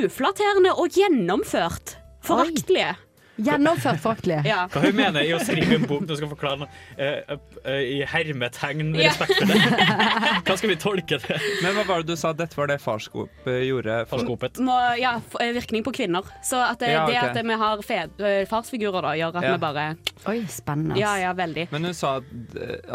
uflatterende og gjennomført. Foraktelige.
Gjennomført foraktelige.
Ja.
Hva hun mener i å skrive en bok når hun skal forklare noe eh, eh, i hermetegn
Ja.
respekt for det? Hva skal vi tolke det?
Men hva var det du sa dette var det farskopet gjorde?
Farskopet.
Må, ja, f- eh, virkning på kvinner. Så at det,
Ja,
det
ok.
at vi har fed, eh, farsfigurer, da, gjør at
Ja.
vi bare
Oi, spennende.
Ja, ja, veldig.
Men hun sa at,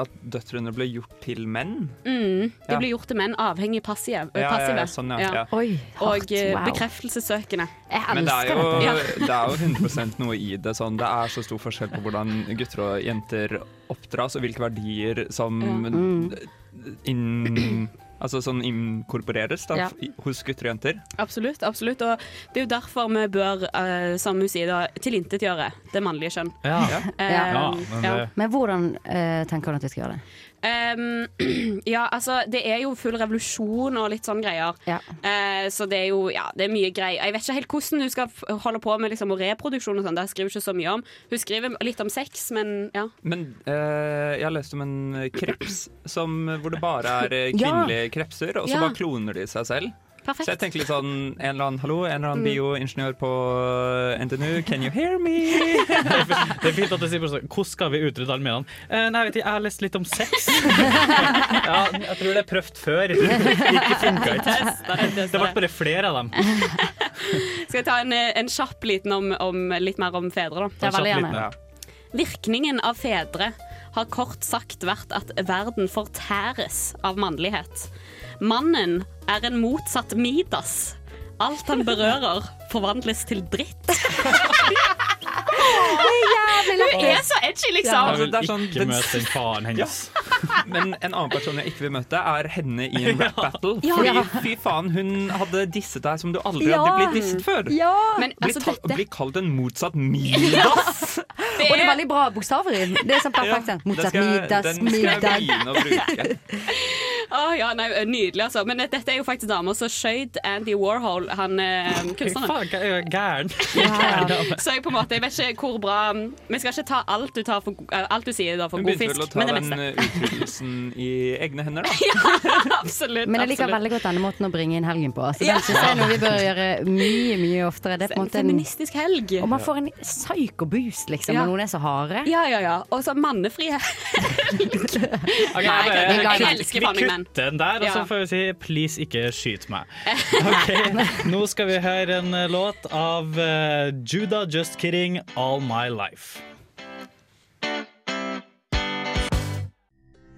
at døtrene ble gjort til menn.
Mm, de
Ja.
blir gjort til menn avhengig passive. eh,
Ja, ja, ja,
passive.
sånn, ja. Ja.
Oi,
Og eh,
wow.
bekreftelsessøkende.
Men det er, jo,
Ja.
det er jo 100 noe i det. Sånn. Det er så stor forskjell på hvordan gutter og jenter oppdras, og hvilke verdier som
Ja.
inn, altså, sånn inkorporeres da,
Ja.
i- hos gutter og jenter.
Absolutt. absolutt Og det er jo derfor vi bør, eh, som hun sier, da, tilintetgjøre det mannlige kjønn.
Ja.
Eh, ja.
Men hvordan eh, tenker du at vi skal gjøre det?
Ehm, ja, altså, det er jo full revolusjon og litt sånn greier. Eh, så det er jo ja, det er mye greier. Jeg vet ikke helt hvordan hun skal f- holde på med liksom, reproduksjon og sånn. Det skriver hun ikke så mye om. Hun skriver litt om sex, men ja.
Men eh, jeg har lest om en kreps som, hvor det bare er eh,
Ja.
kvinnelige krepser, og så
Ja.
bare kloner de seg selv.
Perfekt.
Så jeg tenker litt sånn en eller annen hallo, en eller annen
Mm.
bioingeniør på eh, NTNU, can you hear me?
Det er fint at du sier sånn Hvordan skal vi utrydde allmennene? Eh, nei, vet ikke, jeg har lest litt om sex. ja, jeg tror det er prøvd før. Ikke funka ikke. Det ble bare flere av dem.
Skal jeg ta en, eh, en kjapp liten om, om litt mer om fedre, da?
Ta en kjapp liten, ja.
Virkningen av fedre har kort sagt vært at verden fortæres av mannlighet. Mannen er en motsatt Midas. Alt han berører, forvandles til dritt.
sketsj, liksom.
Jeg vil
sånn-
ikke møte den
faren hennes. Men en annen person jeg ikke vil møte, er henne i en
Ja.
rap battle.
Ja.
Fordi fy faen, hun hadde disset deg som du aldri
Ja.
hadde blitt disset før.
Ja.
Men,
Bli,
altså,
ta-
dette-
bli kalt en motsatt Midas!
Og det er veldig bra bokstavrim. Det er sånn perfekt. sånn.
Den
Motsatt
skal jeg-
middag,
den skal jeg
middag.
begynne å bruke.
Å, Ah, ja, nei, nydelig, altså. Men eh, dette er jo faktisk dama som skjøt Andy Warhol, han eh, kunstneren.
Faen, jeg er gæren.
Så jeg på en måte, jeg vet ikke hvor bra Vi skal ikke ta alt du, tar for, go- eh, alt du sier da, for
Hun
god
begynte vel å
fisk,
ta
men det
den
meste.
eh, utryddelsen i egne hender, da.
absolutt.
Men jeg liker
absolutt.
veldig godt denne måten å bringe inn helgen på. Så
Ja.
den synes jeg er noe vi bør gjøre mye, mye oftere. Det er på en måte en
feministisk helg.
Og man får en psyko-boost, liksom,
Ja.
når noen er så harde.
Ja, ja, ja. Og så mannefri
Ok,
Nei,
jeg,
jeg- jeg
kutt-
elsker Fanning
Vi
Man.
kutter den der, og så
Ja.
får vi si 'please, ikke skyt meg'. Ok, Nå skal vi høre en eh, låt av eh, Judah Just Kidding, 'All My Life'.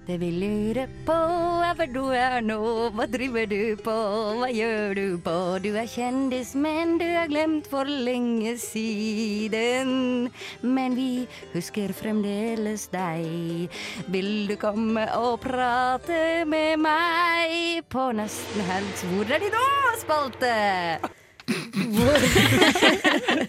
Det vi lurer på er hvor du er nå, hva driver du på, hva gjør du på? Du er kjendis, men du er glemt for lenge siden. Men vi husker fremdeles deg. Vil du komme og prate med meg på nesten helg? Hvor er de nå, spalte? Hvor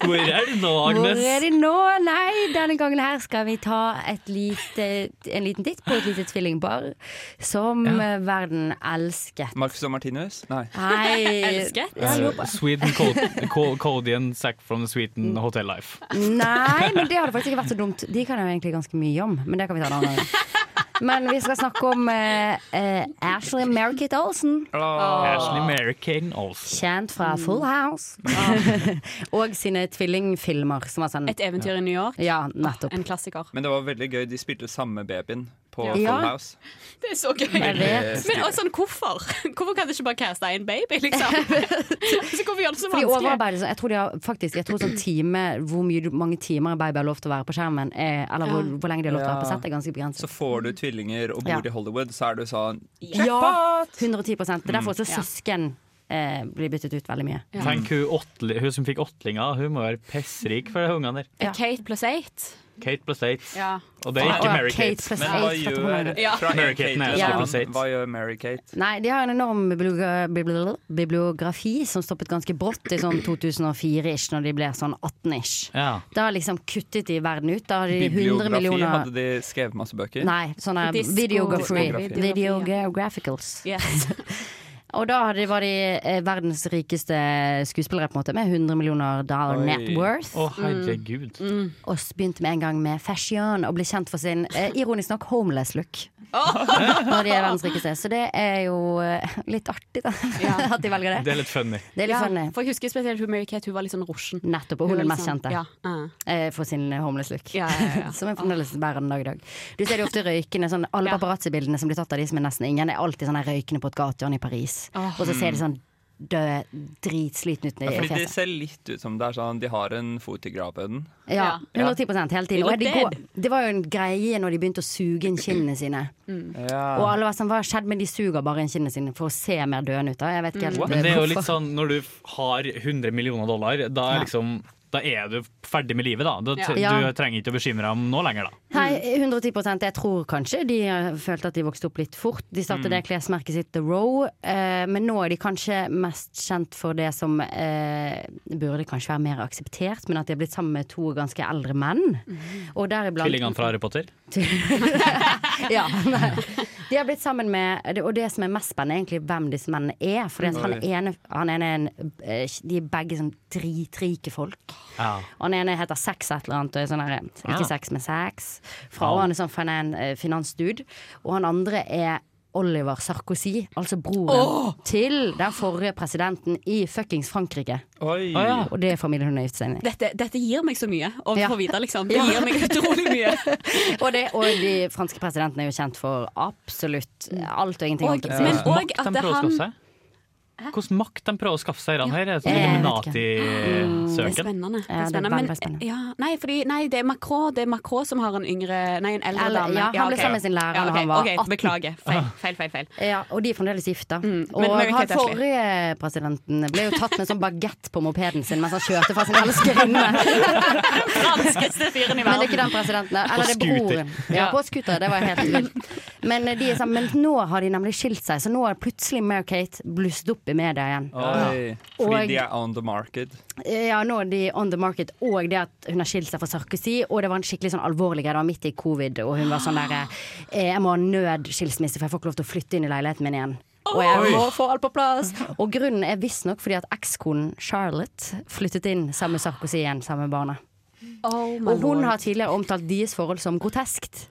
Hvor er du nå, Agnes?
Hvor er de nå? Nei, denne gangen her skal vi ta et lite, en liten titt på et lite tvillingpar som eh, verden elsket.
Marcus og Martinus? Nei.
Nei
Elsket?
Ja, jeg lurer på-
Eh, Sweden Cod- Co- Codian Sack from the Sweden Hotel Life.
Nei, men det hadde faktisk ikke vært så dumt. De kan jeg jo egentlig ganske mye om, men det kan vi ta en annen gang. Men vi skal snakke om eh, eh, Ashley Merrickett Olsen.
Ashley American Olsen.
Kjent fra
Mm.
Full House. og sine tvillingfilmer. Som er sånn
Et eventyr i New York.
Ja, nettopp.
En klassiker.
Men det var veldig gøy. De spilte samme babyen på
Ja.
Full
Ja.
House.
Det er så gøy.
Jeg vet.
Men og sånn, hvorfor? Hvorfor kan du ikke bare caste én baby, liksom? Så hvorfor gjør det så
Fordi
vanskelig?
overarbeidet, jeg tror de har faktisk Jeg tror sånn time, hvor mye, mange timer en baby har lov til å være på skjermen, er, eller hvor,
Ja.
hvor lenge de har lov til å være på
Ja.
sett, er ganske begrenset.
Så får du tvillinger og
Ja.
bor i Hollywood, så er du sånn
Ja! 110 Det er derfor også
Mm. Ja.
søsken eh, blir byttet ut veldig mye.
Tenk hun, åtli- hun som fikk åttlinga, hun må være pessrik for de ungene der.
Kate pluss eight.
Kate pluss eight.
Ja.
Og det er
Å,
ikke
ja,
Mary
Kate
Kate.
pluss
Men hva
eight,
gjør,
fattig hva mener du?
Ja.
fra en
Mary Kate
Kate
Ness,
til en
ja.
annen, sånn, hva gjør Mary Kate?
Nei, de har en enorm bibliogra- bibli- bibliografi som stoppet ganske brått i sånn 2004-ish, når de ble sånn 18-ish.
Ja.
Da liksom kuttet de verden ut. Da har de 100
Bibliografi,
millioner
hadde de skrevet masse bøker?
Nei, sånne
Disco-
videography.
Discografi.
Videographicals.
Yes.
Og da hadde- var de eh, verdens rikeste skuespillere, på en måte, med 100 millioner dollar
Oi.
net worth. Mm.
Å,
Mm.
herregud.
Og s- begynte med en gang med fashion, og ble kjent for sin, eh, ironisk nok, homeless look. Når de er verdens rikeste. Så det er jo eh, litt artig, da.
Ja.
At de velger
Det
det.
er litt funny.
Det er Mm. litt
Ja,
funny.
for jeg husker spesielt hun Mary Kate, hun var litt sånn rosjen.
Nettopp. Og hun er den
var
mest
litt
kjente.
sånn- Ja. ah.
eh, For sin homeless look.
Ja, ja, ja, ja.
Som jeg fremdeles bærer den dag i dag. Du ser det ofte røykende. Sånn, alle
Ja.
paparazzi-bildene som blir tatt av de som er nesten ingen, er alltid sånn her røykende på et gatehjørne i Paris.
Åh.
Og så ser de
Mm.
sånn døde, dritslitne ut
Ja,
i
fordi det
fjeset.
ser litt ut som det er sånn De har en fot i graven.
Ja,
Ja.
110 hele tiden.
They
Og de
look
går,
dead.
det var jo en greie når de begynte å suge inn kinnene sine.
Mm.
Og alle var sånn, hva har skjedd med de suger bare inn kinnene sine for å se mer døende ut? da Jeg
Mm.
vet ikke helt eh,
Men det er jo litt
hvorfor.
sånn når du f- har 100 millioner dollar, da er, liksom, da er du ferdig med livet, da. da t
Ja.
Du trenger ikke å bekymre deg om nå lenger, da.
Nei, 110 Jeg tror kanskje de eh, følte at de vokste opp litt fort. De startet det klesmerket sitt The Row, eh, men nå er de kanskje mest kjent for det som eh, burde kanskje være mer akseptert, men at de har blitt sammen med to ganske eldre menn. Og deriblant
Tvillingene fra Harry Potter.
ja, nei. De har blitt sammen med Og det som er mest spennende, er egentlig hvem disse mennene er. For han
Oi.
ene, han ene er en eh, De er begge sånn dritrike folk.
Ja.
Og han ene heter Sex et eller annet. Og er sånn her,
Ja.
ikke sex, men sex. Fra,
Ja.
og han er sånn finan, eh, finansdude. Og han andre er Oliver Sarkozy, altså broren til den forrige presidenten i fuckings Frankrike. Ah,
Oi!
Å, ja.
Og det er familien hun er gift seg med.
Dette, dette gir meg så mye å
Ja.
få vite, liksom. Det
Ja.
gir meg utrolig mye.
Og, det, og de franske presidentene er jo kjent for absolutt alt og ingenting. holdt
Og,
jeg på å si.
men
Makt
òg
de
at
prøver å
han
skaffe seg. Hvordan makt de prøver å skaffe seg denne her? Er det sånn
Jeg vet Det er
Illuminati-søken?
spennende.
Ja, det er
Men,
veldig spennende.
Ja, nei, fordi, nei, det er Macron, det er Macron som har en yngre Nei, en eldre
Eller-
dame.
ja, han ble
ok.
sammen med sin lærer
Ja,
da
ok,
han var
ok,
18.
Beklager. Feil,
Ah.
feil, feil. feil. Mm.
Ja, og de er fremdeles gifta. og
men- men
han
Kate Ashley.
forrige presidenten ble jo tatt med sånn bagett på mopeden sin mens han kjørte fra sin elskerinne.
Franskeste fyren i
Men det er
verden.
ikke den presidenten. Eller det er
På
broren. Ja,
scooter. Ja.
på scooter. Det var helt vilt. Men, de er sammen- men nå har de nemlig skilt seg, så nå har plutselig Mary Kate blusset opp i media igjen.
Oi, fordi
Og-
de er on the market.
Ja, nå er de on the market, og det at hun har skilt seg fra Sarkozy. Og det var en skikkelig sånn alvorlig greie. Det var midt i covid, og hun var sånn derre eh, Jeg må ha nødskilsmisse, for jeg får ikke lov til å flytte inn i leiligheten min igjen. Og jeg
Oi.
må få alt på plass. Og grunnen er visstnok fordi at ekskonen Charlotte flyttet inn sammen med Sarkozy igjen, sammen med barna.
Oh, my
Og hun
lord.
har tidligere omtalt deres forhold som groteskt.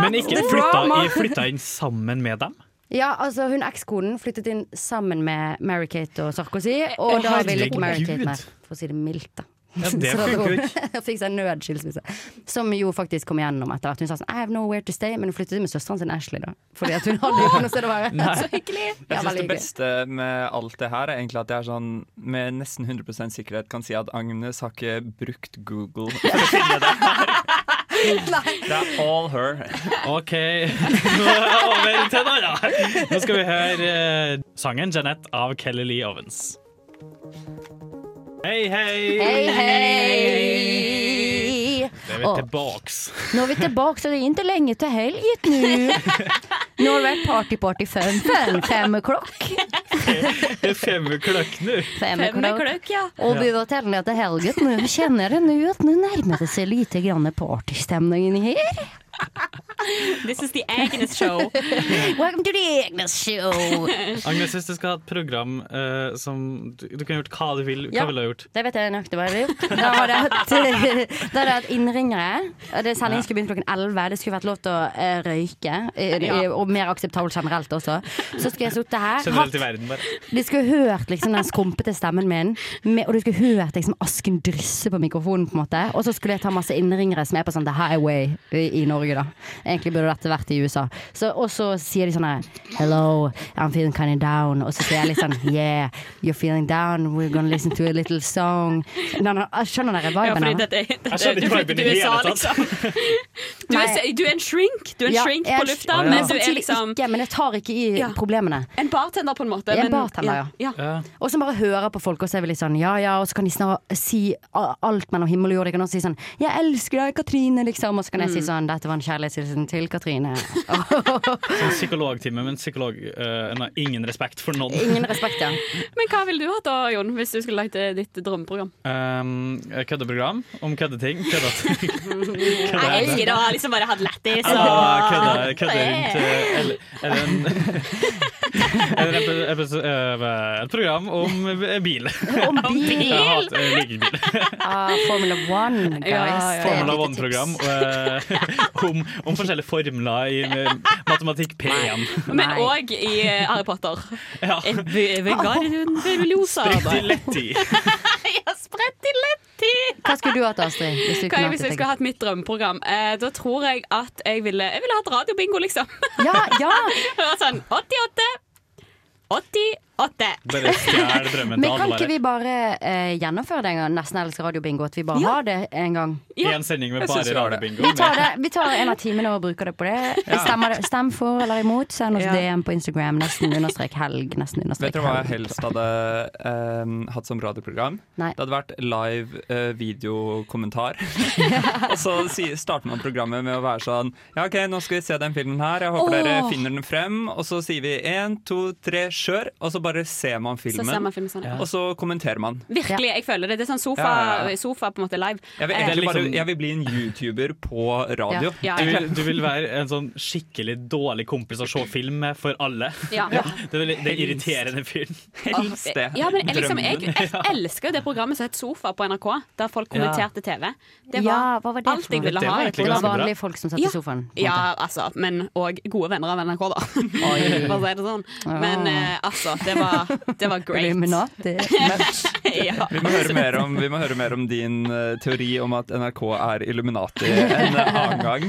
Men ikke
Det er
flytta,
drama.
i- flytta inn sammen med dem?
Ja, altså hun ekskonen flyttet inn sammen med Mary-Kate og Sarkozy, og
Å,
da ville ikke
herregud.
Mary-Kate mer, for å si det mildt, da.
Ja, det
Så da
funker jo
dro- fikk seg nødskilsmisse. Som jo faktisk kom igjennom etter hvert. Hun sa sånn I have nowhere to stay, men hun flyttet inn med søsteren sin Ashley, da. Fordi at hun hadde jo ikke noe sted å være.
Nei.
Så hyggelig!
Jeg
Ja,
synes
veldig
Det
hyggelig.
beste med alt det her er egentlig at jeg er sånn, med nesten 100 sikkerhet kan si at Agnes har ikke brukt Google for å finne det her. Det er all her.
OK, nå er jeg over til en annen. Nå skal vi høre eh, sangen 'Jeanette' av Kelly Lee Ovens. Hei, hei!
Hei, hei!
Det er vi
Og
tilbaks.
nå er vi tilbake, så det er ikke lenge til helgen nå. Nå har det vært party, party, fun, fun. Fem klokk.
Det er fem klokk nå.
Fem klokk.
ja.
Og vi var temmelig til helgen, men vi kjenner det nå at nå nærmer det seg lite grann partystemningen her.
This is the Agnes show.
Welcome to the Agnes show.
Agnes, hvis du skal ha et program eh, som Du, du kan gjort hva du vil, hva
Ja.
ville du ha gjort?
Det vet jeg nøyaktig hva jeg vil. Da har jeg hatt, da har jeg hatt innringere. Og det- Sendingen skulle begynt klokken 11. Det skulle vært lov til å eh, røyke. eh,
Ja.
Og mer akseptabelt generelt også. Så skulle jeg sittet her.
Generelt i verden, bare.
De skulle hørt liksom den skrumpete stemmen min, med, og du skulle hørt liksom asken drysse på mikrofonen. på en måte Og så skulle jeg ta masse innringere som er på sånn The Highway i, i Norge, da. Egentlig burde dette vært i USA. Så, og så sier de sånn her Hello, I'm feeling kind of down. Og så sier jeg litt sånn Yeah, you're feeling down, we're gonna listen to a little song. Nei, nei, jeg skjønner dere
Ja,
viben?
fordi
eller?
dette, dette,
Jeg skjønner ikke
du
hva
flytter
jeg
til USA,
begynner i hele tatt.
liksom. Du er, du er en shrink. Du er en
Ja,
shrink
jeg
på
er- Ja,
lufta,
ja.
men du er
Samtidig
liksom
ikke, men jeg tar ikke i
Ja.
problemene.
en bartender, på en måte.
Jeg er
men-
bartender, ja. Og som bare hører på folk, og så er vi litt sånn ja ja, og så kan de snart si a- alt mellom himmel og jord. Jeg kan også si sånn 'jeg elsker deg, Katrine', liksom. Og så kan jeg si sånn 'dette var en kjærlighetshilsen til Katrine'.
Sånn psykologtime, men psykolog eh, en har ingen respekt for noen.
Ingen respekt, ja.
Men hva ville du hatt da, Jon, hvis du skulle lagt eh, ditt drømmeprogram?
Um, køddeprogram om køddeting. Køddeting.
Jeg elsker det å ha liksom bare hatt lættis
Ah,
og
kødde, kødde rundt eh, eller, eller en eller en epi- episo- eh, et program om eh, bil.
Om bil?
Jeg hater jeg liker ikke bil.
Ah, Formula One, guys.
Ja, Formula
Det er et lite
One-program
tips.
eh, om, om forskjellige formler i eh, matematikk P1.
Men òg i eh, Harry Potter.
Ja.
Eh, ve- Vegarden velosa.
Sprittilletti.
Ja, Sprettilletti!
Hva skulle du hatt, Astrid? Hvis du
Hva
kunne
jeg, hvis jeg
hatt
skulle
et
hatt mitt drømmeprogram? Eh, da tror jeg at jeg ville Jeg ville hatt radiobingo, liksom.
Ja, ja.
Det var sånn 88, 88.
Bare stjel drømmen
Men
til
kan
alle.
ikke vi
bare.
bare eh, gjennomføre det en gang? Nesten Elsk radiobingo. At vi bare har det en gang.
En sending med
Jeg synes
bare
vi har det.
radiobingo.
Vi tar, det, vi tar en av timene og bruker det på det.
Ja.
Stemmer det. Stem for eller imot. Send oss
Ja.
DM på Instagram. Nesten understrek helg. Nesten
Vet
understrek
dere hva jeg
helg.
helst hadde eh, hatt som radioprogram?
Nei.
Det hadde vært live eh, videokommentar. og så si, starter man programmet med å være sånn Ja, OK, nå skal vi se den filmen her. Jeg håper dere
Åh.
finner den frem. Og så sier vi én, to, tre, kjør. Og så bare ser man filmen.
ser man filmen sånn, ja.
Og så kommenterer man.
Virkelig, jeg føler det. Det er sånn sofa,
Ja, ja, ja.
sofa på en måte live.
Jeg vil,
Eh,
egentlig bare, jeg vil bli en YouTuber på radio.
Ja. Ja,
Du,
ja.
vil, du vil være en sånn skikkelig dårlig kompis å se film med for alle.
Ja.
Det er den irriterende fyren.
Helst det.
Ja, men jeg, liksom, jeg, jeg elsker jo det programmet som het Sofa på NRK, der folk
Ja.
kommenterte TV. Det var
Ja, hva var det
alt
for noe?
jeg ville
Det
ha.
var
i et
egentlig
program.
ganske bra. Vanlige folk som satt i
Ja.
sofaen, på en
Ja, altså, men òg gode venner av NRK, da. For å si det sånn. Men eh, altså, det var, det var great.
Illuminati.
ja.
Vi må, høre mer om, vi må høre mer om din eh, teori om at NRK er Illuminati en annen gang.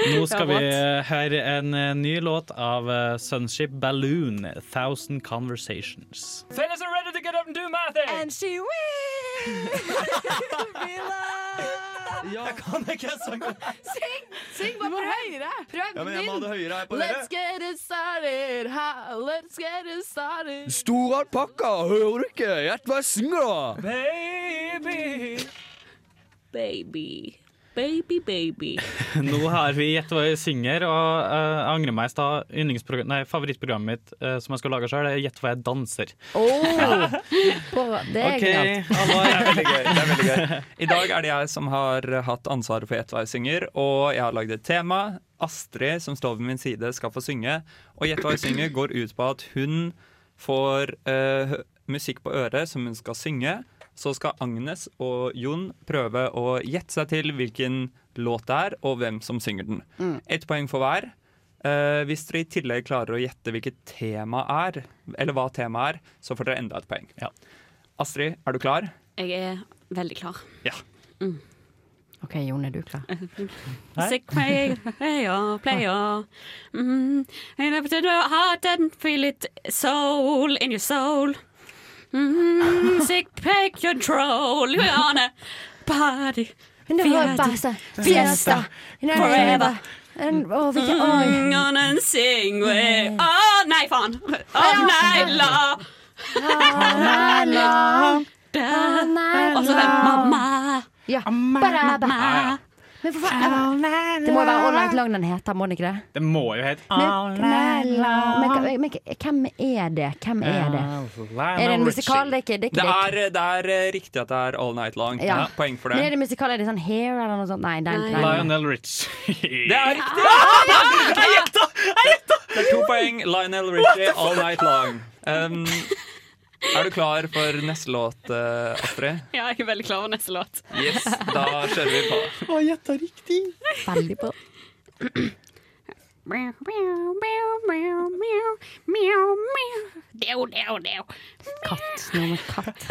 Nå skal vi
Ja,
høre en eh, ny låt av eh, Sunship Balloon, 1000 Conversations.
Fellas are ready to get up and do my thing. And she will be loved.
Jeg kan ikke sangen.
Syng! Syng bare prøv. Høyere. Prøv
Ja, men jeg må ha det høyere her på
Let's
dere.
get it started. Ha, let's get it started.
Stor alpakka, hører du ikke? Gjett hva jeg synger, da!
Baby.
Baby. Baby, baby.
Nå har vi Gjett hva jeg synger, og eh, jeg angrer meg i stad. Yndlingsprogr- nei, Favorittprogrammet mitt eh, som jeg skal lage sjøl, er Gjett hva jeg danser.
Oh. det er
Ok,
genialt.
alle er veldig
gøy. Det er veldig gøy. I dag er det jeg som har hatt ansvaret for Gjett hva jeg synger, og jeg har lagd et tema. Astrid, som står ved min side, skal få synge. Og Gjett hva jeg synger går ut på at hun får eh, hø- musikk på øret som hun skal synge. Så skal Agnes og Jon prøve å gjette seg til hvilken låt det er, og hvem som synger den.
Mm.
Ett poeng for hver. Eh, hvis dere i tillegg klarer å gjette hvilket tema er, eller hva temaet er, så får dere enda et poeng. Astrid, er du klar?
Jeg er veldig klar.
Ja.
OK, Jon, er du klar?
Sick player, player, player. Mm, you never did your heart and feel it soul in your soul. Mm, sick play control, you're on a party.
Fiesta,
Fiesta,
fiesta,
fiesta, forever.
En- Å, hvilken
Mm,
Oi.
on and sing way. Å, nei, faen! All night long.
night long.
Da- Og så den mamma.
Ja. Ba-da, ba. Men for faen, det må jo være All Night Long den heter, må den ikke det?
Det må jo hete Ah!
Men, men, men hvem er det? Hvem er Altså, det? Er det en musikal? Det er ikke det. Er
Det
ikke, det.
er, det er eh, riktig at det er All Night Long.
Ja.
Poeng for
Men er
det.
det musikal? Er det sånn Hair eller noe sånt? Nei, den, nei.
Lionel Rich.
Det er riktig! Det er to poeng. Lionel Richie, All Night Long. Um, er du klar for neste låt, eh, Astrid?
Ja, jeg er veldig klar over neste låt.
Yes, da kjører vi på.
Å, gjetta riktig.
Veldig bra.
Meow, meow, meow, meow, meow, meow. Deo, deo, deo.
Katt. Noe med katt.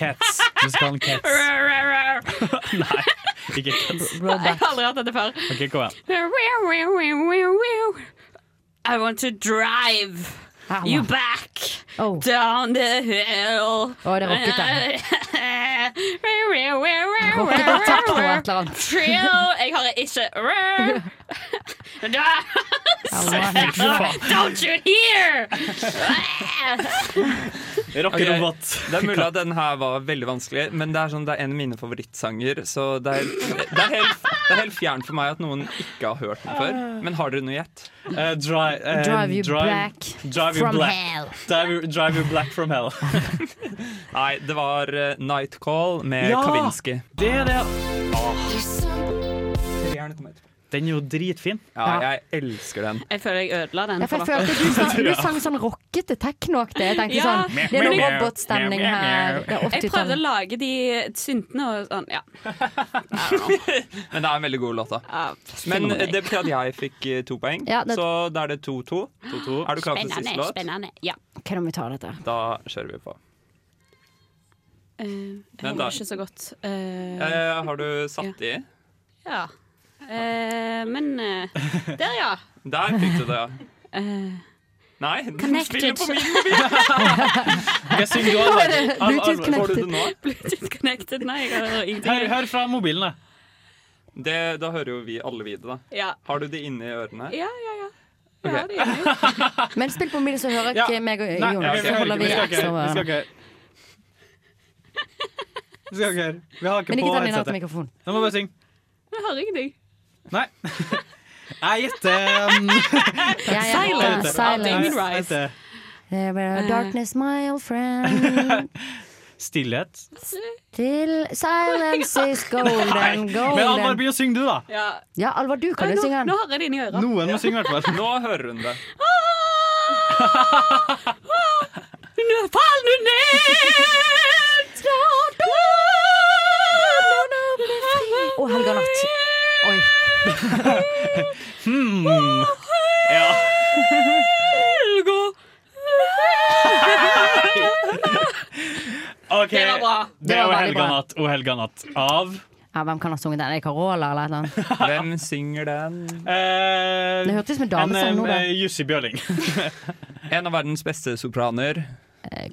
Cats. Musikalen Cats.
Rar, rar, rar.
Nei, ikke Cats.
Jeg har aldri hatt dette før.
OK, kom igjen.
Meow, meow, meow, meow, meow. I want to drive
Ah,
you back down the hill.
Å, Oh. det er rockete.
Meow, meow, meow, meow,
Rockete
meow,
tatt over et
meow.
eller annet.
Trill. Jeg har ikke Rar. Da-
Fy faen.
Don't you hear?
Ok, Det er mulig at den her var veldig vanskelig, men det er, sånn, det er en av mine favorittsanger. Så det er, det, er helt, det er helt fjernt for meg at noen ikke har hørt den før. Men har dere noe gjett?
Eh, drive,
Drive you black from hell.
Drive, drive you black from hell.
Nei, det var eh, Night Call med
Ja!
Kavinsky.
Det er det.
Treeren kom etterpå.
Den er jo dritfin.
Ja, jeg elsker den.
Jeg føler jeg ødela den.
Ja, for
for
jeg
dere.
følte er du, sang, du sang sånn rockete teknoaktig. Jeg tenkte
Ja.
sånn Det er noe robotstemning her. Det er
Jeg prøvde å
80-tallet.
lage de syntene og sånn, ja.
Men det er en veldig god låt, da. Men eh, det betyr at jeg fikk eh, to poeng,
Ja, det-
så da er det 2-2. Er du klar for siste låt?
Spennende. Ja.
Ok, nå må vi ta dette.
Da kjører vi på.
Eh, jeg
Men
hører
da-
ikke så godt. Eh,
Eh, har du satt i?
ja. Eh, men eh, Der, ja.
Der fikk du det, ja.
Eh,
Nei, du spiller
connected.
på min mobil!
Jeg synger du av, av, av,
Bluetooth
Får du
connected.
det nå?
Bluetooth connected. Nei, jeg hører
Hør,
ingenting.
hør fra mobilen, da.
Det, da hører jo vi alle videre, da.
Ja.
Har du det inni ørene?
Ja, ja, ja.
Ok.
Ja, det gjør jeg.
Men spill på min, så hører
Ja.
ikke meg og
Nei,
Jon.
ok,
Så holder
vi
vi
skal ikke høre. Vi
så-
skal ikke høre. Vi skal ikke høre. Vi har ikke
Men ikke
på
ta den inn til
headsetet.
mikrofonen.
Nå må vi bare synge.
Jeg hører ingenting.
Nei. Jeg gjetter um,
ja, Silence.
jeg
Silence.
gjetter-
Damien Rice.
jeg gjetter
Eh, bare, Darkness, my old friend.
Stillhet.
Til silence is
Nei.
golden,
Men Alvar,
golden.
begynn å synge, du, da.
Ja.
Ja, Alvar, du kan jo
Nå,
synge den.
nå hører jeg det inni øret.
Noen må synge, i hvert fall.
Nå hører hun det.
Nå Fall nå ned!
Å, helga Oh, natt. Oi.
Hmm. Ja.
Helga
OK.
Det var bra.
Det
Det
er
var
O
veldig
helga
bra.
Oh, natt, O helga natt av
Ja, hvem kan ha sunget den? Er det Carola eller et eller annet?
Hvem synger den?
Eh,
Det hørtes ut som en damesang nå, da.
Jussi Bjørling.
en av verdens beste sopraner.
Eh,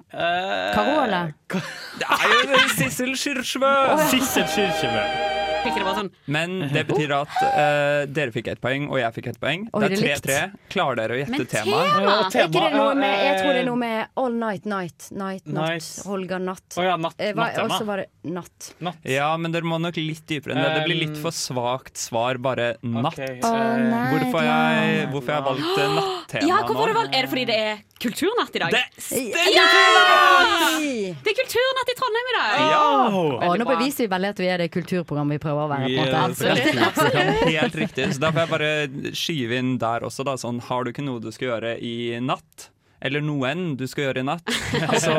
Carola.
Eh, Det er jo Sissel Kyrkjebø!
Å, ja.
Sissel Kyrkjebø.
Fikk det bare sånn.
Men det betyr at eh, dere fikk ett poeng, og jeg fikk ett poeng.
Oi,
Det
det
er
er likt.
3-3. Klarer dere å gjette
Men
temaet?
Er ikke det noe med Jeg tror det er noe med All Night Night, Night Not,
Night.
Holger Natt.
Oh, ja, natt-
Eh, hva-
nattema.
også var det Natt. Um,
Ja, men dere må nok litt dypere enn det. Det blir litt for svakt svar, bare natt.
eh,
All night
Hvorfor jeg, hvorfor jeg har valgt eh, nattema
Ja, hvorfor har du
nå?
valgt- Er det fordi det er kulturnatt i dag?
Det
stemmer!
Ja! Det er kulturnatt i Trondheim i dag!
Å, nå beviser vi veldig at vi er det kulturprogrammet vi eh, prøver å være. på en måte.
Helt riktig. Så da får jeg bare skyve inn der også, da. Sånn, har du ikke noe du skal gjøre i natt? Eller noe enn du skal gjøre i natt, så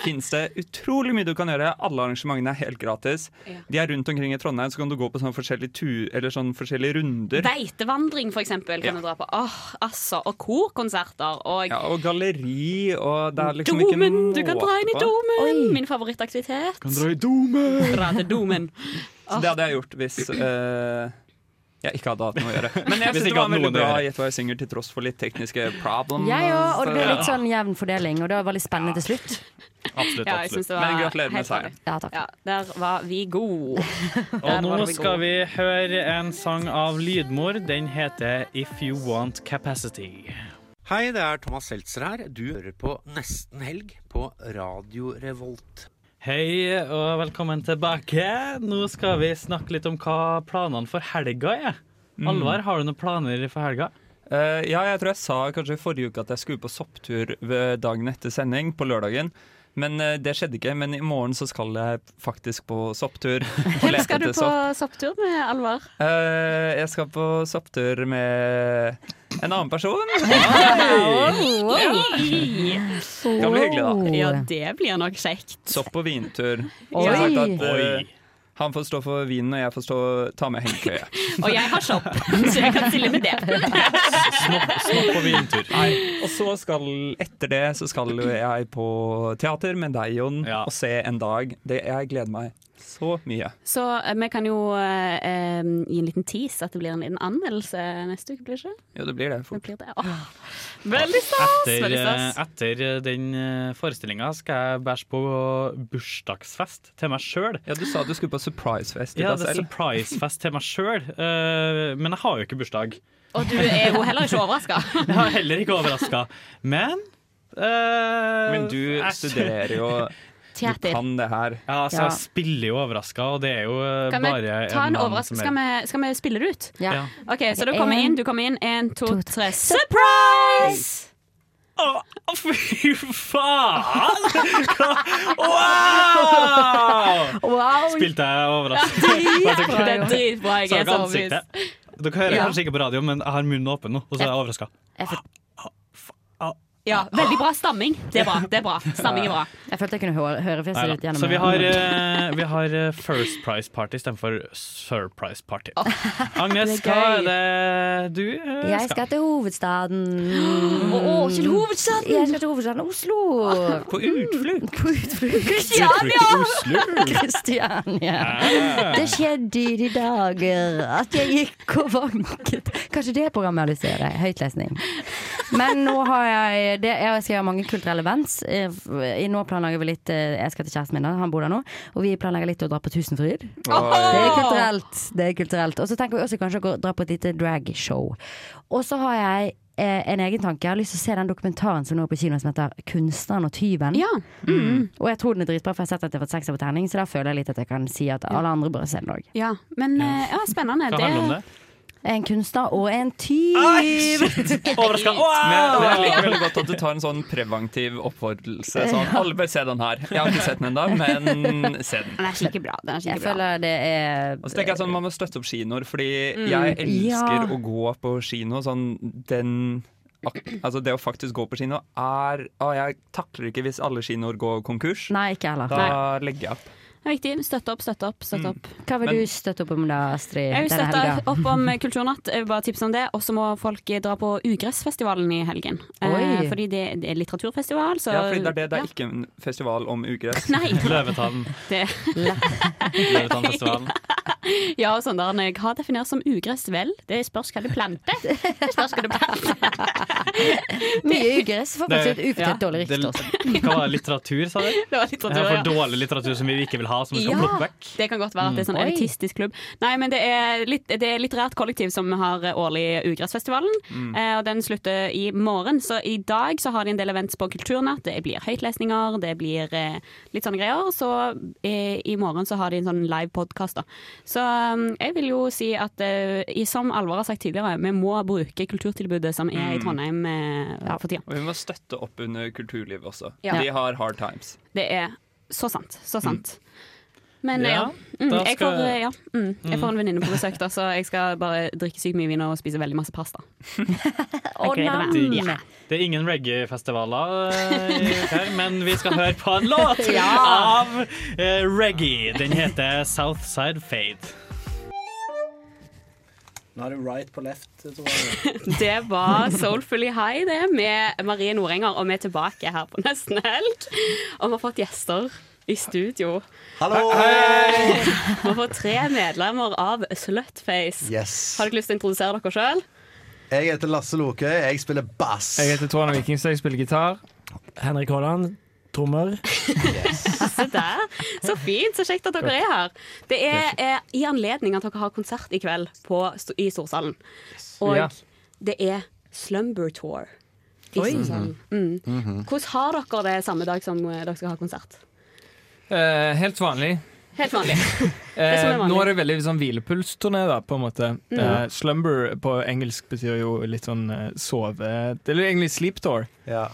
fins det utrolig mye du kan gjøre. Alle arrangementene er helt gratis. De er rundt omkring i Trondheim, så kan du gå på sånne forskjellige, tu eller sånne forskjellige runder.
Veitevandring, for eksempel, kan
Ja.
du dra på. Åh, altså, Og korkonserter. Og
Ja, og galleri, og det er liksom ikke
domen! Du
måte
kan dra inn i
på.
domen! Min favorittaktivitet.
Kan dra i domen!
Dra til domen.
Så det hadde jeg gjort hvis eh, jeg ikke hadde hatt noe å gjøre. Men
Hvis
jeg synes
ikke
det
hadde
var veldig
noe å
bra
gjøre.
gjett hva jeg synger, til tross for litt tekniske problems.
Jeg òg, og det ble
Sånn, eh, Ja.
litt sånn jevn fordeling, og det var veldig spennende til slutt.
Absolutt,
Ja, jeg synes
absolutt.
det var
Men gratulerer med
helt
seieren.
riktig.
Ja, takk.
der var vi gode.
Og nå skal vi høre en sang av Lydmor. Den heter If You Want Capacity.
Hei, det er Thomas Seltzer her. Du hører på Nesten Helg på Radio Revolt.
Hei og velkommen tilbake. Nå skal vi snakke litt om hva planene for helga er.
Mm.
Alvar, har du noen planer for helga?
Eh, ja, jeg tror jeg sa kanskje i forrige uke at jeg skulle på sopptur ved dagen etter sending, på lørdagen. Men eh, det skjedde ikke. Men i morgen så skal jeg faktisk på sopptur. og lete
Skal du
etter
på sopptur med Alvar?
Eh, jeg skal på sopptur med en annen person. Det kan bli hyggelig, da.
Ja, det blir nok kjekt.
Sopp- og vintur.
Oi.
Så jeg har sagt at, eh,
Oi.
han får stå for vinen, og jeg får stå, ta med hengekøye.
Og jeg har sopp, så jeg kan stille med det.
Snopp og vintur. Nei. Og så skal, etter det så skal jo jeg på teater med deg, Jon, og se En dag. Det, jeg gleder meg så mye.
Så eh, vi kan jo eh, eh, gi en liten tease at det blir en liten anmeldelse neste uke, blir det ikke?
Jo, det blir det
Det
fort.
blir det. Åh. Veldig stas!
Etter,
Veldig stas.
eh, etter den forestillinga skal jeg bæsje på bursdagsfest til meg sjøl.
Ja, du sa du skulle på surprisefest.
Ja, det er surprisefest til meg sjøl, men jeg har jo ikke bursdag.
Og du er jo heller ikke overraska.
Jeg er heller ikke overraska. Men eh,
Men du
jeg-
studerer jo
Teater.
kan det her.
Ja, så
Ja.
jeg spiller jo overraska, og det er jo eh,
Kan vi
bare
ta en
mann
overraskelse?
som
Skal,
er-
vi- skal vi spille det ut?
Ja. Ja.
OK, så da kommer
En,
jeg inn. Du kommer inn. Én, to, tre. Surprise!
Å, fy faen! Wow! Spilte jeg overraskende?
Dritbra, det er dritbra. Jeg er
Så dere
så overbevist.
ansiktet. Dere hører
Ja.
kanskje ikke på radio, men jeg har munnen åpen nå, og så er jeg overraska.
Ja, veldig bra stamming. Det er bra. det er bra Stamming er bra.
Jeg følte jeg kunne høre, høre fjeset ditt gjennom
Så vi har, eh, vi har eh, First Price Party istedenfor Surprise Party. Agnes,
Det er
hva
gøy.
er det du eh,
Jeg skal til hovedstaden.
Å, å, til hovedstaden?
Jeg skal til hovedstaden Oslo.
På utflukt?
På utflukt. Kristiania. Det skjedde i de dager at jeg gikk og vanket. Kanskje det programmet jeg har lyst til å gjøre. Høytlesning. Men nå har jeg det, Jeg skal gjøre mange kulturelle events. Eh, i- Nå planlegger vi litt eh, Jeg skal til kjæresten min, da, han bor der nå. Og vi planlegger litt å dra på Tusenfryd. Det er kulturelt. Det er kulturelt. Og så tenker vi også kanskje å gå- dra på et lite dragshow. Og så har jeg eh, en egen tanke. Jeg har lyst til å se den dokumentaren som nå er på kino som heter 'Kunstneren og tyven'. Mm. Og jeg tror den er dritbra, for jeg har sett at jeg har fått seks av på terning, så da føler jeg litt at jeg kan si at alle andre bør se den òg.
Ja, men eh, ja, spennende.
Hva handler om det? En kunstner og en tyv!
Overraska.
Men, men jeg liker veldig godt at du tar en sånn preventiv oppfordrelse. Sånn, alle bør se den her. Jeg har ikke sett den ennå, men se den.
Den er skikkelig bra. Den er
Jeg
skikkelig bra.
føler det er
Og så tenker jeg sånn, Man må støtte opp kinoer, fordi
Mm.
jeg elsker
Ja.
å gå på kino. Sånn, den, ak- altså Det å faktisk gå på kino er å, Jeg takler ikke hvis alle kinoer går konkurs.
Nei, ikke heller.
Da legger jeg opp.
Det er viktig. Støtte opp, støtte opp, støtte opp.
Hva vil du støtte opp om da, Astrid?
Jeg vil
denne
støtte
helga?
opp om eh, Kulturnatt, jeg vil bare tipse om det. Og så må folk dra på Ugressfestivalen i helgen. Eh,
Oi.
fordi det, det er litteraturfestival, så
ja, fordi det er det. Det er ikke en festival om ugress.
Nei.
Løvetann.
det.
Løvetannfestivalen.
Ja, og sånn der, når jeg har definert som ugress vel. Det spørs hva du planter. Det spørs hva du planter.
Mye ugress får faktisk et ufortjent dårlig rykte.
det, hva var det, litteratur, sa du?
Det var litteratur,
for
ja.
dårlig litteratur som vi ikke vil ha, som sånn vi skal plukke vekk.
det kan godt være at det er sånn
Mm. Oi.
elitistisk klubb. Nei, men det er, litt, det er litterært kollektiv som har eh, årlig Ugressfestivalen.
Mm.
Eh, og den slutter i morgen. Så i dag så har de en del events på Kulturnatt. Det blir høytlesninger, det blir eh, litt sånne greier. Så eh, i morgen så har de en sånn live podkast, da. Så eh, jeg vil jo si at eh, i- som Alvar har sagt tidligere, vi må bruke kulturtilbudet som er i
Mm.
Trondheim eh, for tida.
Og vi må støtte opp under kulturlivet også.
Ja.
De har hard times.
Det er så sant.
Mm.
Så sant. Men
Ja,
ja. Mm,
da
jeg,
skal-
får, ja mm, jeg får en
Mm.
venninne på besøk, da, så jeg skal bare drikke sykt mye vin og spise veldig masse pasta.
Å,
Jeg gleder meg.
nam.
Ja.
Det er ingen reggae-festivaler eh, her, men vi skal høre på en låt
Ja.
av eh, reggae. Den heter Southside Fade.
Nå er det right på left.
Det var Soulfully High, det, med Marie Norenger. Og vi er tilbake her på nesten helg. Og vi har fått gjester i studio.
Hallo!
Vi har fått tre medlemmer av Slutface.
Yes.
Har dere lyst til å introdusere dere sjøl?
Jeg heter Lasse Loke, jeg spiller bass.
Jeg heter Tone Vikingstad, jeg spiller gitar. Henrik Haaland, trommer.
Se der. Så fint. Så kjekt at dere er her. Det er eh, i anledning at dere har konsert i kveld på, i Storsalen. Og
Ja.
det er Slumber Tour i
Oi.
Storsalen. Mm.
Mhm.
Hvordan har dere det samme dag som eh, dere skal ha konsert?
Eh, helt vanlig.
Helt vanlig. Det som
Eh,
er vanlig.
nå er det veldig sånn hvilepulsturné, da, på en måte.
Mm.
Eh, slumber på engelsk betyr jo litt sånn eh, sove Det er jo egentlig sleep tour.
Ja.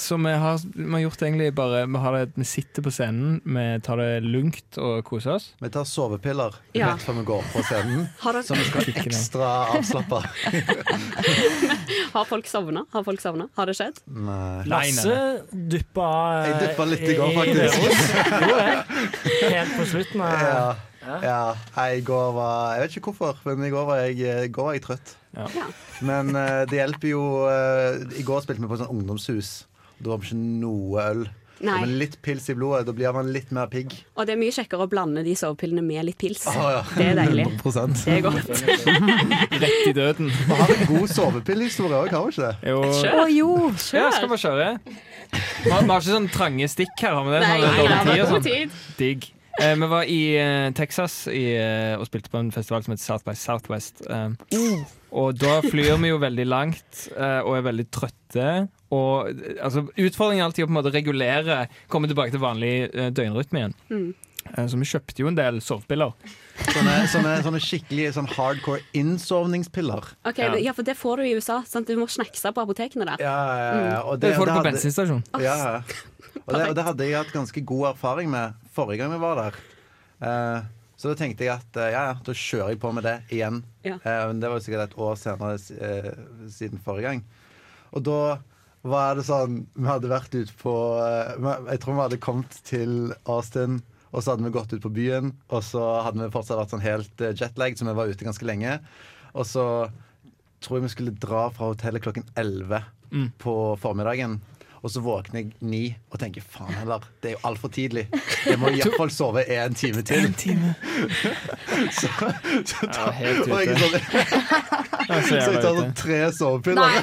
Så vi har, vi har gjort det egentlig bare Vi, har det, vi sitter på scenen, vi tar det lungt og koser oss.
Vi tar sovepiller
Ja.
rett før vi går på scenen,
Har dere-
så vi skal være ekstra avslappa.
Har folk sovna? Har folk sovna? Har det skjedd?
Lasse
duppa Jeg duppa litt i går, faktisk.
Helt
på slutten
av-
ja. ja. Nei, I går var Jeg vet ikke hvorfor, men i går var jeg, i går var jeg trøtt. Men eh, det hjelper jo eh, I går spilte vi på et sånt ungdomshus. Da var det ikke noe øl.
Nei.
Men litt pils i blodet, da blir man litt mer pigg.
Og det er mye kjekkere å blande de sovepillene med litt pils.
Å, ja.
Det er deilig.
100%.
Det er godt.
Rett i døden.
Vi har en god sovepillehistorie òg, har vi ikke det?
Jo.
Kjør.
Å, jo.
Kjør.
Ja, skal bare kjøre. Vi har, vi har ikke sånn trange stikk her, har vi det?
Nei,
Sånn
nei,
dårlig
nei, det
tid og
var god
sånn.
tid.
Digg. Eh, vi var i eh, Texas i, eh, og spilte på en festival som heter South by Southwest. Eh,
Mm.
og da flyr vi jo veldig langt eh, og er veldig trøtte. Og eh, altså, utfordringen er alltid å på en måte regulere, komme tilbake til vanlig eh, døgnrytme igjen.
Mm.
Eh, så vi kjøpte jo en del sovepiller.
Sånne, sånne, sånne skikkelig sånn hardcore innsovningspiller.
Ok, ja. for det får du i USA. Sant? Du må snackse på apotekene der.
Ja, ja, ja,
Mm.
og
Det får du på
hadde-
bensinstasjon.
Ja, ja. Og, det, og det hadde jeg hatt ganske god erfaring med forrige gang vi var der. Eh, så da tenkte jeg at eh, ja, ja, da kjører jeg på med det igjen.
Ja.
Eh, men det var jo sikkert et år senere eh, siden forrige gang. Og da var det sånn Vi hadde vært ute på eh, vi- Jeg tror vi hadde kommet til Austin, og så hadde vi gått ut på byen, og så hadde vi fortsatt vært sånn helt eh, jetlag, så vi var ute ganske lenge. Og så tror jeg vi skulle dra fra hotellet klokken 11 på formiddagen. Og så våkner jeg ni og tenker faen heller, det er jo altfor tidlig. Jeg må iallfall sove en time til. så, så da,
helt
og jeg er
ute.
sånn, så jeg tar sånn tre sovepiller.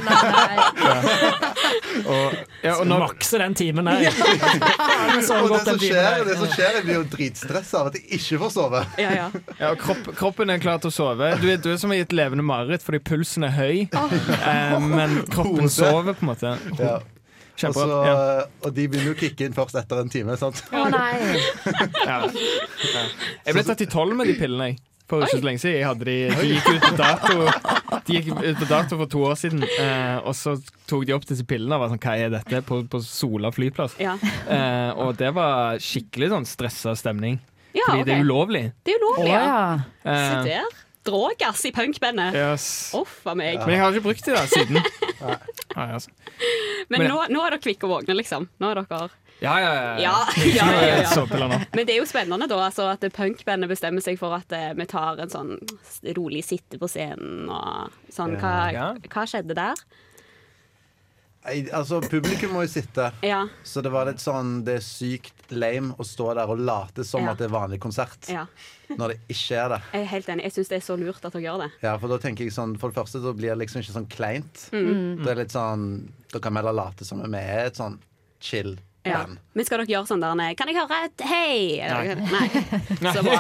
Og, ja, og når,
Makse den timen der. Vi sover
Og det
godt
som
den timen
skjer,
der.
det som skjer, jeg blir jo dritstressa av at jeg ikke får sove.
Ja, ja.
Ja, og kropp, kroppen er klar til å sove. Du er, du er som i et levende mareritt fordi pulsen er høy, eh, men kroppen
Hodet.
sover på en måte.
Ja. Og,
Kjempebra.
så,
ja.
og de begynner jo å kicke inn først etter en time. Sant?
Å nei.
Ja. Ja. Jeg ble tatt i tolv med de pillene. jeg. For ikke så lenge siden. Jeg hadde de, de gikk ut på dato De gikk ut på dato for to år siden. Eh, og så tok de opp disse pillene og var sånn Hva er dette? På, på Sola flyplass.
Ja.
Eh, og det var skikkelig sånn stressa stemning.
Ja,
fordi
ok.
det er ulovlig.
Det er ulovlig, ja.
Eh,
Se der. Drågass i punkbandet.
Yes.
Uff a meg.
Men jeg har ikke brukt det da, siden. Nei, altså.
Men
Men- Eh,
nå, nå er dere kvikke og våkne, liksom. Nå er dere
Ja, ja, ja.
Ja, ja, ja, ja.
Såpepiller nå.
Men det er jo spennende da, altså, at punkbandet bestemmer seg for at eh, vi tar en sånn rolig sitte på scenen og sånn. Hva,
Eh,
Ja.
hva skjedde der?
Nei, Altså, publikum må jo sitte.
Ja.
Så det var litt sånn Det er sykt lame å stå der og late som
Ja.
at det er vanlig konsert,
ja.
når det ikke er det.
Jeg er helt enig. Jeg syns det er så lurt at dere gjør det.
Ja, for da tenker jeg sånn For det første så blir det liksom ikke sånn kleint.
Mm.
Det er litt sånn Da kan vi heller late som om vi er et sånn chill
Ja.
band.
Men skal dere gjøre sånn der nei, Kan jeg høre et hei?
Nei.
Nei. Så bra.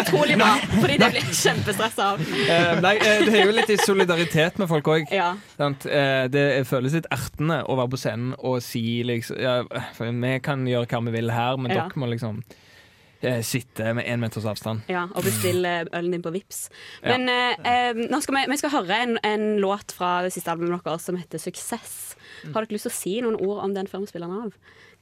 Utrolig bra. Fordi det blir jeg kjempestressa av.
Eh, nei, eh, det er jo litt i solidaritet med folk òg.
Ja.
det føles litt ertende å være på scenen og si liksom ja, for Vi kan gjøre hva vi vil her, men
Ja.
dere må liksom eh, sitte med én meters avstand.
Ja, og bestille ølen din på Vips.
Ja.
Men eh, eh, nå skal vi, vi skal høre en, en låt fra det siste albumet deres som heter 'Suksess'.
Mm.
Har dere lyst til å si noen ord om den før vi spiller den av?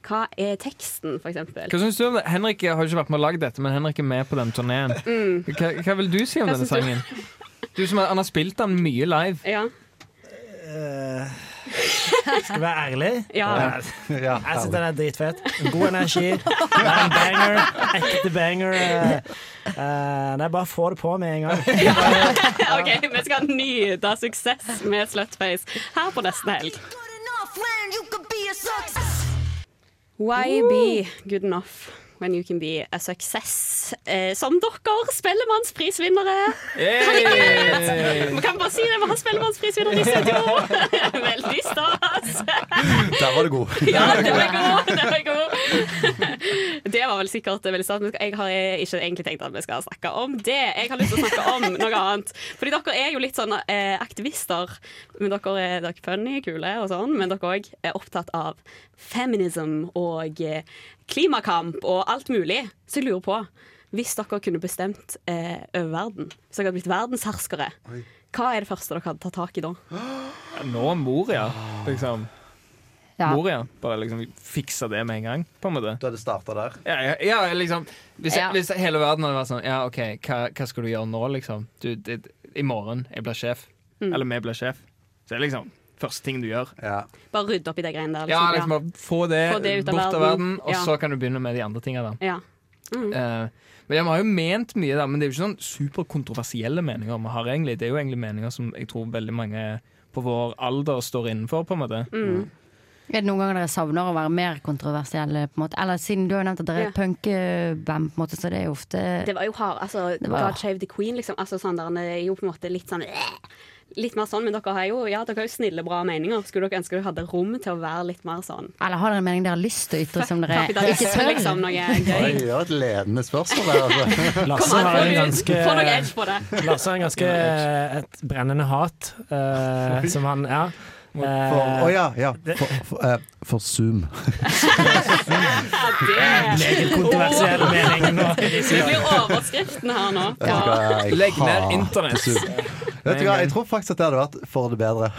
Hva er teksten, for eksempel?
Hva syns du om det? Henrik har jo ikke vært med og lagd dette, men Henrik er med på den turneen.
Mm.
Hva, hva vil du si om
Hva
denne
syns du?
sangen? Du som har, han har spilt den mye live.
Ja.
Eh, Skal vi være ærlig?
Ja.
Jeg synes den er dritfet. God energi. Det er en banger. Ekte banger. eh. Eh, nei, bare få det på med en gang.
OK, vi skal nyte suksess med Slutface her på nesten helg. Why be good enough when you can be a success? Eh, som dere, Spellemannsprisvinnere.
Hey!
Vi kan bare si det, vi har Spellemannsprisvinner i studio! Veldig stas.
Der var det god.
Ja, det var god. Det var, god. Det var vel sikkert veldig stas. men Jeg har ikke egentlig tenkt at vi skal snakke om det. Jeg har lyst til å snakke om noe annet. Fordi dere er jo litt sånn eh, aktivister. Men dere er, dere er funny, kule og sånn, men dere òg er opptatt av feminism og eh, klimakamp og alt mulig. Så jeg lurer på, hvis dere kunne bestemt eh, over verden, hvis dere hadde blitt verdensherskere, hva er det første dere hadde tatt tak i da?
Ja, Nå Moria,
Ah.
liksom.
Ja.
Moria. Bare liksom fikse det med en gang, på en måte.
Du hadde starta der?
Ja, ja, ja liksom. Hvis,
Ja.
hvis hele verden hadde vært sånn Ja, OK, hva, hva skal du gjøre nå, liksom? Du, det, I morgen. Jeg blir sjef.
Mm.
Eller vi blir sjef. Så det er liksom første ting du gjør.
Ja,
Bare rydde opp i det greiene der.
liksom, bare få det,
Få det ut av
bort av
verden.
verden, og
Ja.
så kan du begynne med de andre tinga, da.
Ja. Mm.
Eh, men jeg har jo ment mye der, men det er jo ikke sånn superkontroversielle meninger vi har egentlig. Det er jo egentlig meninger som jeg tror veldig mange på vår alder står innenfor, på en måte.
Mm. Er det noen ganger dere savner å være mer kontroversielle? På en måte? Eller siden du har jo nevnt at dere er
Ja.
et punkeband, på en måte, så det er jo ofte
Det var jo hard, altså
Eh, Det var-
God Save the Queen, liksom. Altså, sånn der, det er jo på en måte litt sånn eh, Litt mer sånn, men dere har jo, ja, dere har jo snille, bra meninger. Skulle dere ønske dere hadde rom til å være litt mer sånn?
Eller har dere en mening dere har lyst til å ytre som dere ikke
Kapitalisme,
tør?
liksom, noe
Oi,
gøy.
det var et ledende spørsmål der, altså.
Lasse har en ganske
Få noe edge på det.
Lasse har en ganske eh, et brennende hat eh, som han Ja. Eh,
For, å ja, ja. For, for, eh, for Zoom.
Meget kontroversiell mening. nå.
Det blir overskriften her nå.
Vet du hva, jeg
Legg ned
hater
internett.
Zoom. Vet du hva, jeg tror faktisk at det hadde vært for det bedre.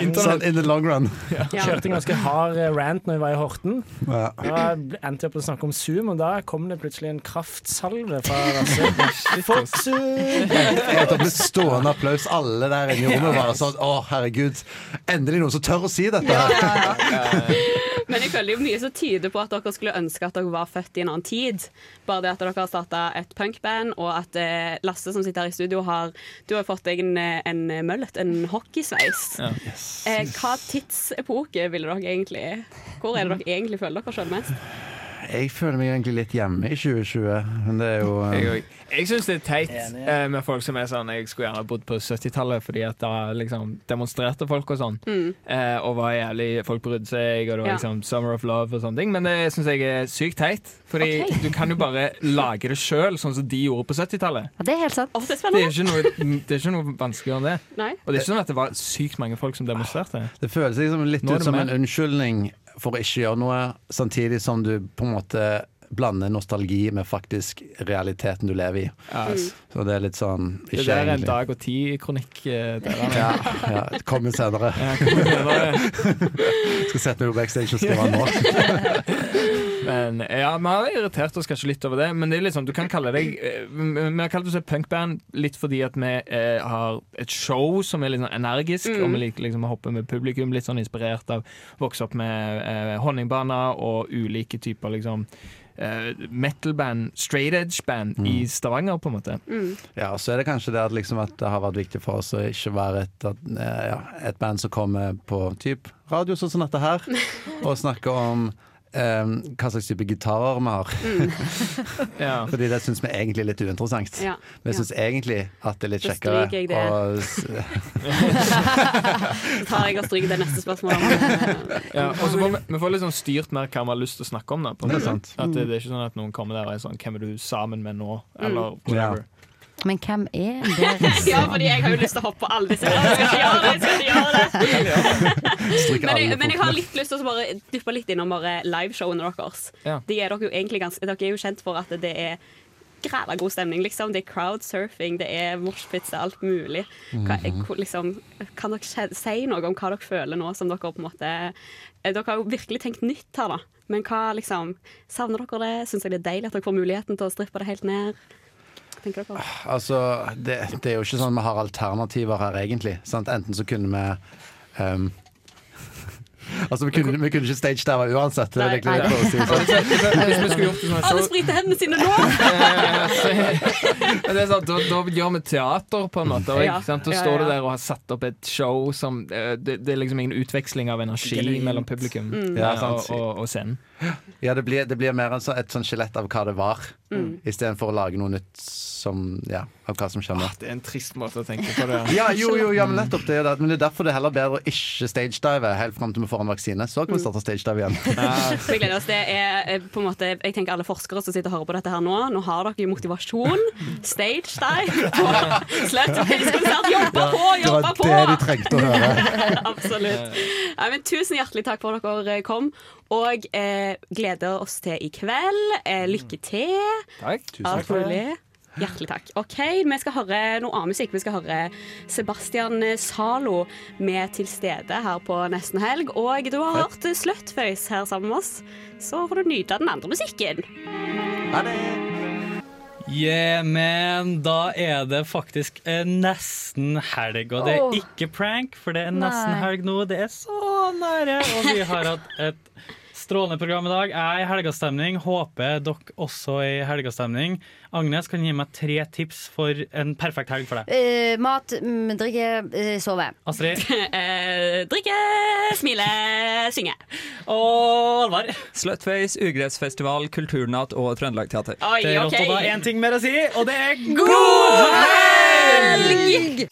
Internett.
Sånn in the long run.
Kjørte en ganske hard eh, rant når vi var i Horten.
Ja.
Da endte jeg opp å snakke om Zoom, og da kom det plutselig en kraftsalve fra Lasse. Fuck Zoom!
Jeg tok med stående applaus alle der inne i rommet. Bare sånn, å herregud, endelig noen som tør å si dette! her
Men jeg føler jo mye som tyder på at dere skulle ønske at dere var født i en annen tid. Bare det at dere har starta et punkband, og at eh, Lasse som sitter her i studio, har Du har jo fått deg en, eh, en møllet, en hockeysveis.
Ja.
Eh, hva tidsepoke ville dere egentlig Hvor er det dere egentlig føler dere selv mest?
Jeg føler meg egentlig litt hjemme i 2020, men det er jo eh,
Jeg, også. jeg syns det er teit eh, med folk som er sånn Jeg skulle gjerne bodd på 70-tallet, fordi at da liksom demonstrerte folk og sånn.
Mm.
Eh, og var jævlig Folk brydde seg, og det var
Ja.
liksom Summer of Love og sånne ting. Men det syns jeg er sykt teit, Fordi
Ok.
du kan jo bare lage det sjøl, sånn som de gjorde på 70-tallet.
Ja, det er helt sant.
Å, det er
Det
spennende.
er ikke noe, det er ikke noe vanskeligere enn det.
Nei.
Og det er ikke sånn at det var sykt mange folk som demonstrerte.
Det føles liksom litt
Nå er
ut
det
som
mer.
en unnskyldning for å ikke gjøre noe, samtidig som du på en måte blander nostalgi med faktisk realiteten du lever i.
Ja. Mm.
Så det er litt sånn
Det
ikke
der er en
egentlig.
dag og eh, ti-kronikk.
Ja, ja. det Kommer senere. Skal sette meg på backstage og skrive den nå.
Men ja, Vi har irritert oss kanskje litt over det, men det er litt sånn, du kan kalle deg eh, Vi vi har kalt oss et punkband litt fordi at vi eh, har et show som er litt sånn energisk,
Mm.
og vi liker liksom å hoppe med publikum. Litt sånn inspirert av å vokse opp med eh, honningbaner og ulike typer liksom eh, metal-band, straight edge-band
Mm.
i Stavanger, på en måte.
Mm.
Ja, og så er det kanskje det at, liksom, at det har vært viktig for oss å ikke være et, at, eh, ja, et band som kommer på typ radio, sånn som dette her, og snakker om eh, hva slags type gitarer vi har.
Mm.
Fordi det syns vi egentlig er litt uinteressant.
Ja.
Vi
Ja.
syns egentlig at det er litt
Da
kjekkere
stryker jeg det.
å s-
Så tar jeg og stryker det neste spørsmålet.
Ja, og så får vi, vi får liksom styrt mer hva vi har lyst til å snakke om. Da, på en
Det er
måte.
sant.
At det, det er ikke sånn at noen kommer der og er sånn Hvem er du sammen med nå?
Mm.
Eller whatever.
Men hvem er dere?
Ja, fordi jeg har jo lyst til å hoppe alle disse Jeg skal ikke gjøre det! Jeg skal ikke gjøre det. Men jeg, men jeg har litt lyst til å bare dyppe litt innom bare liveshowene deres.
Ja.
De er dere, jo egentlig gans- dere er jo kjent for at det er græla god stemning, liksom. Det er crowdsurfing, det er moshpits, det er alt mulig. Hva,
Mhm.
hvor- liksom, kan dere kje- si noe om hva dere føler nå som dere på en måte eh, Dere har jo virkelig tenkt nytt her, da. Men hva liksom Savner dere det? Syns dere det er deilig at dere får muligheten til å strippe det helt ned? Hva tenker dere?
Ah.
Altså, det, det er jo ikke sånn vi har alternativer her, egentlig. Sant? Enten så kunne vi ehm, Altså, vi kunne, vi kunne ikke stage der uansett. Det er
Nei.
egentlig det jeg prøver å si.
Og liksom, Hvis vi skulle gjort det sånn
Alle
så-
spriter hendene sine nå!
Men det er sånn, da, da gjør vi teater, på en måte. Og,
Ja.
ikke sant? Da
Ja,
står du
ja.
der og har satt opp et show som eh, Det, det er liksom ingen utveksling av energi
Genuint.
mellom publikum
Mm.
eh,
Ja, sant.
og, og, og scenen.
Ja, det blir, det blir mer en sånn, et sånn skjelett av hva det var,
Mm.
istedenfor å lage noe nytt som, ja, av hva som skjer nå.
Det er en trist måte å tenke på det.
Ja, jo, jo, ja, men nettopp det, er det. Men det er derfor det er heller bedre å ikke stagedive helt fram til vi får en vaksine. Så kan vi starte stagedive igjen.
Vi gleder oss. Det er eh, på en måte Jeg tenker alle forskere som sitter og hører på dette her nå. Nå har dere jo motivasjon. Stage dive på Slutface-konsert. Jobba på,
det
jobba
var
på!
det de trengte å høre.
Absolutt. Nei, men tusen hjertelig takk for at dere kom. Og eh, gleder oss til i kveld. Eh, lykke til.
Takk.
Alt mulig. Hjertelig takk. OK, vi skal høre noe annen musikk. Vi skal høre Sebastian Zalo med Til stede her på nesten helg. Og du har hørt Slutface her sammen med oss, så får du nyte av den andre musikken.
Ha det.
Yeah, man. Da er det faktisk eh, nesten helg. Og det
Åh.
er ikke prank, for det er nesten
Nei.
helg nå. Det er så nære. Og vi har hatt et strålende program i dag. Jeg er i helgastemning. Håper dere også er i helgastemning. Agnes kan du gi meg tre tips for en perfekt helg for deg.
Eh, mat, mm, drikke, eh, sove.
Astrid?
Eh, drikke, smile, synge.
Og Alvar.
Slutface, Ugressfestival, Kulturnatt og Trøndelag Teater.
Oi,
Det er
ok.
rått,
Eh,
og da er en ting mer å si, og det er
God helg!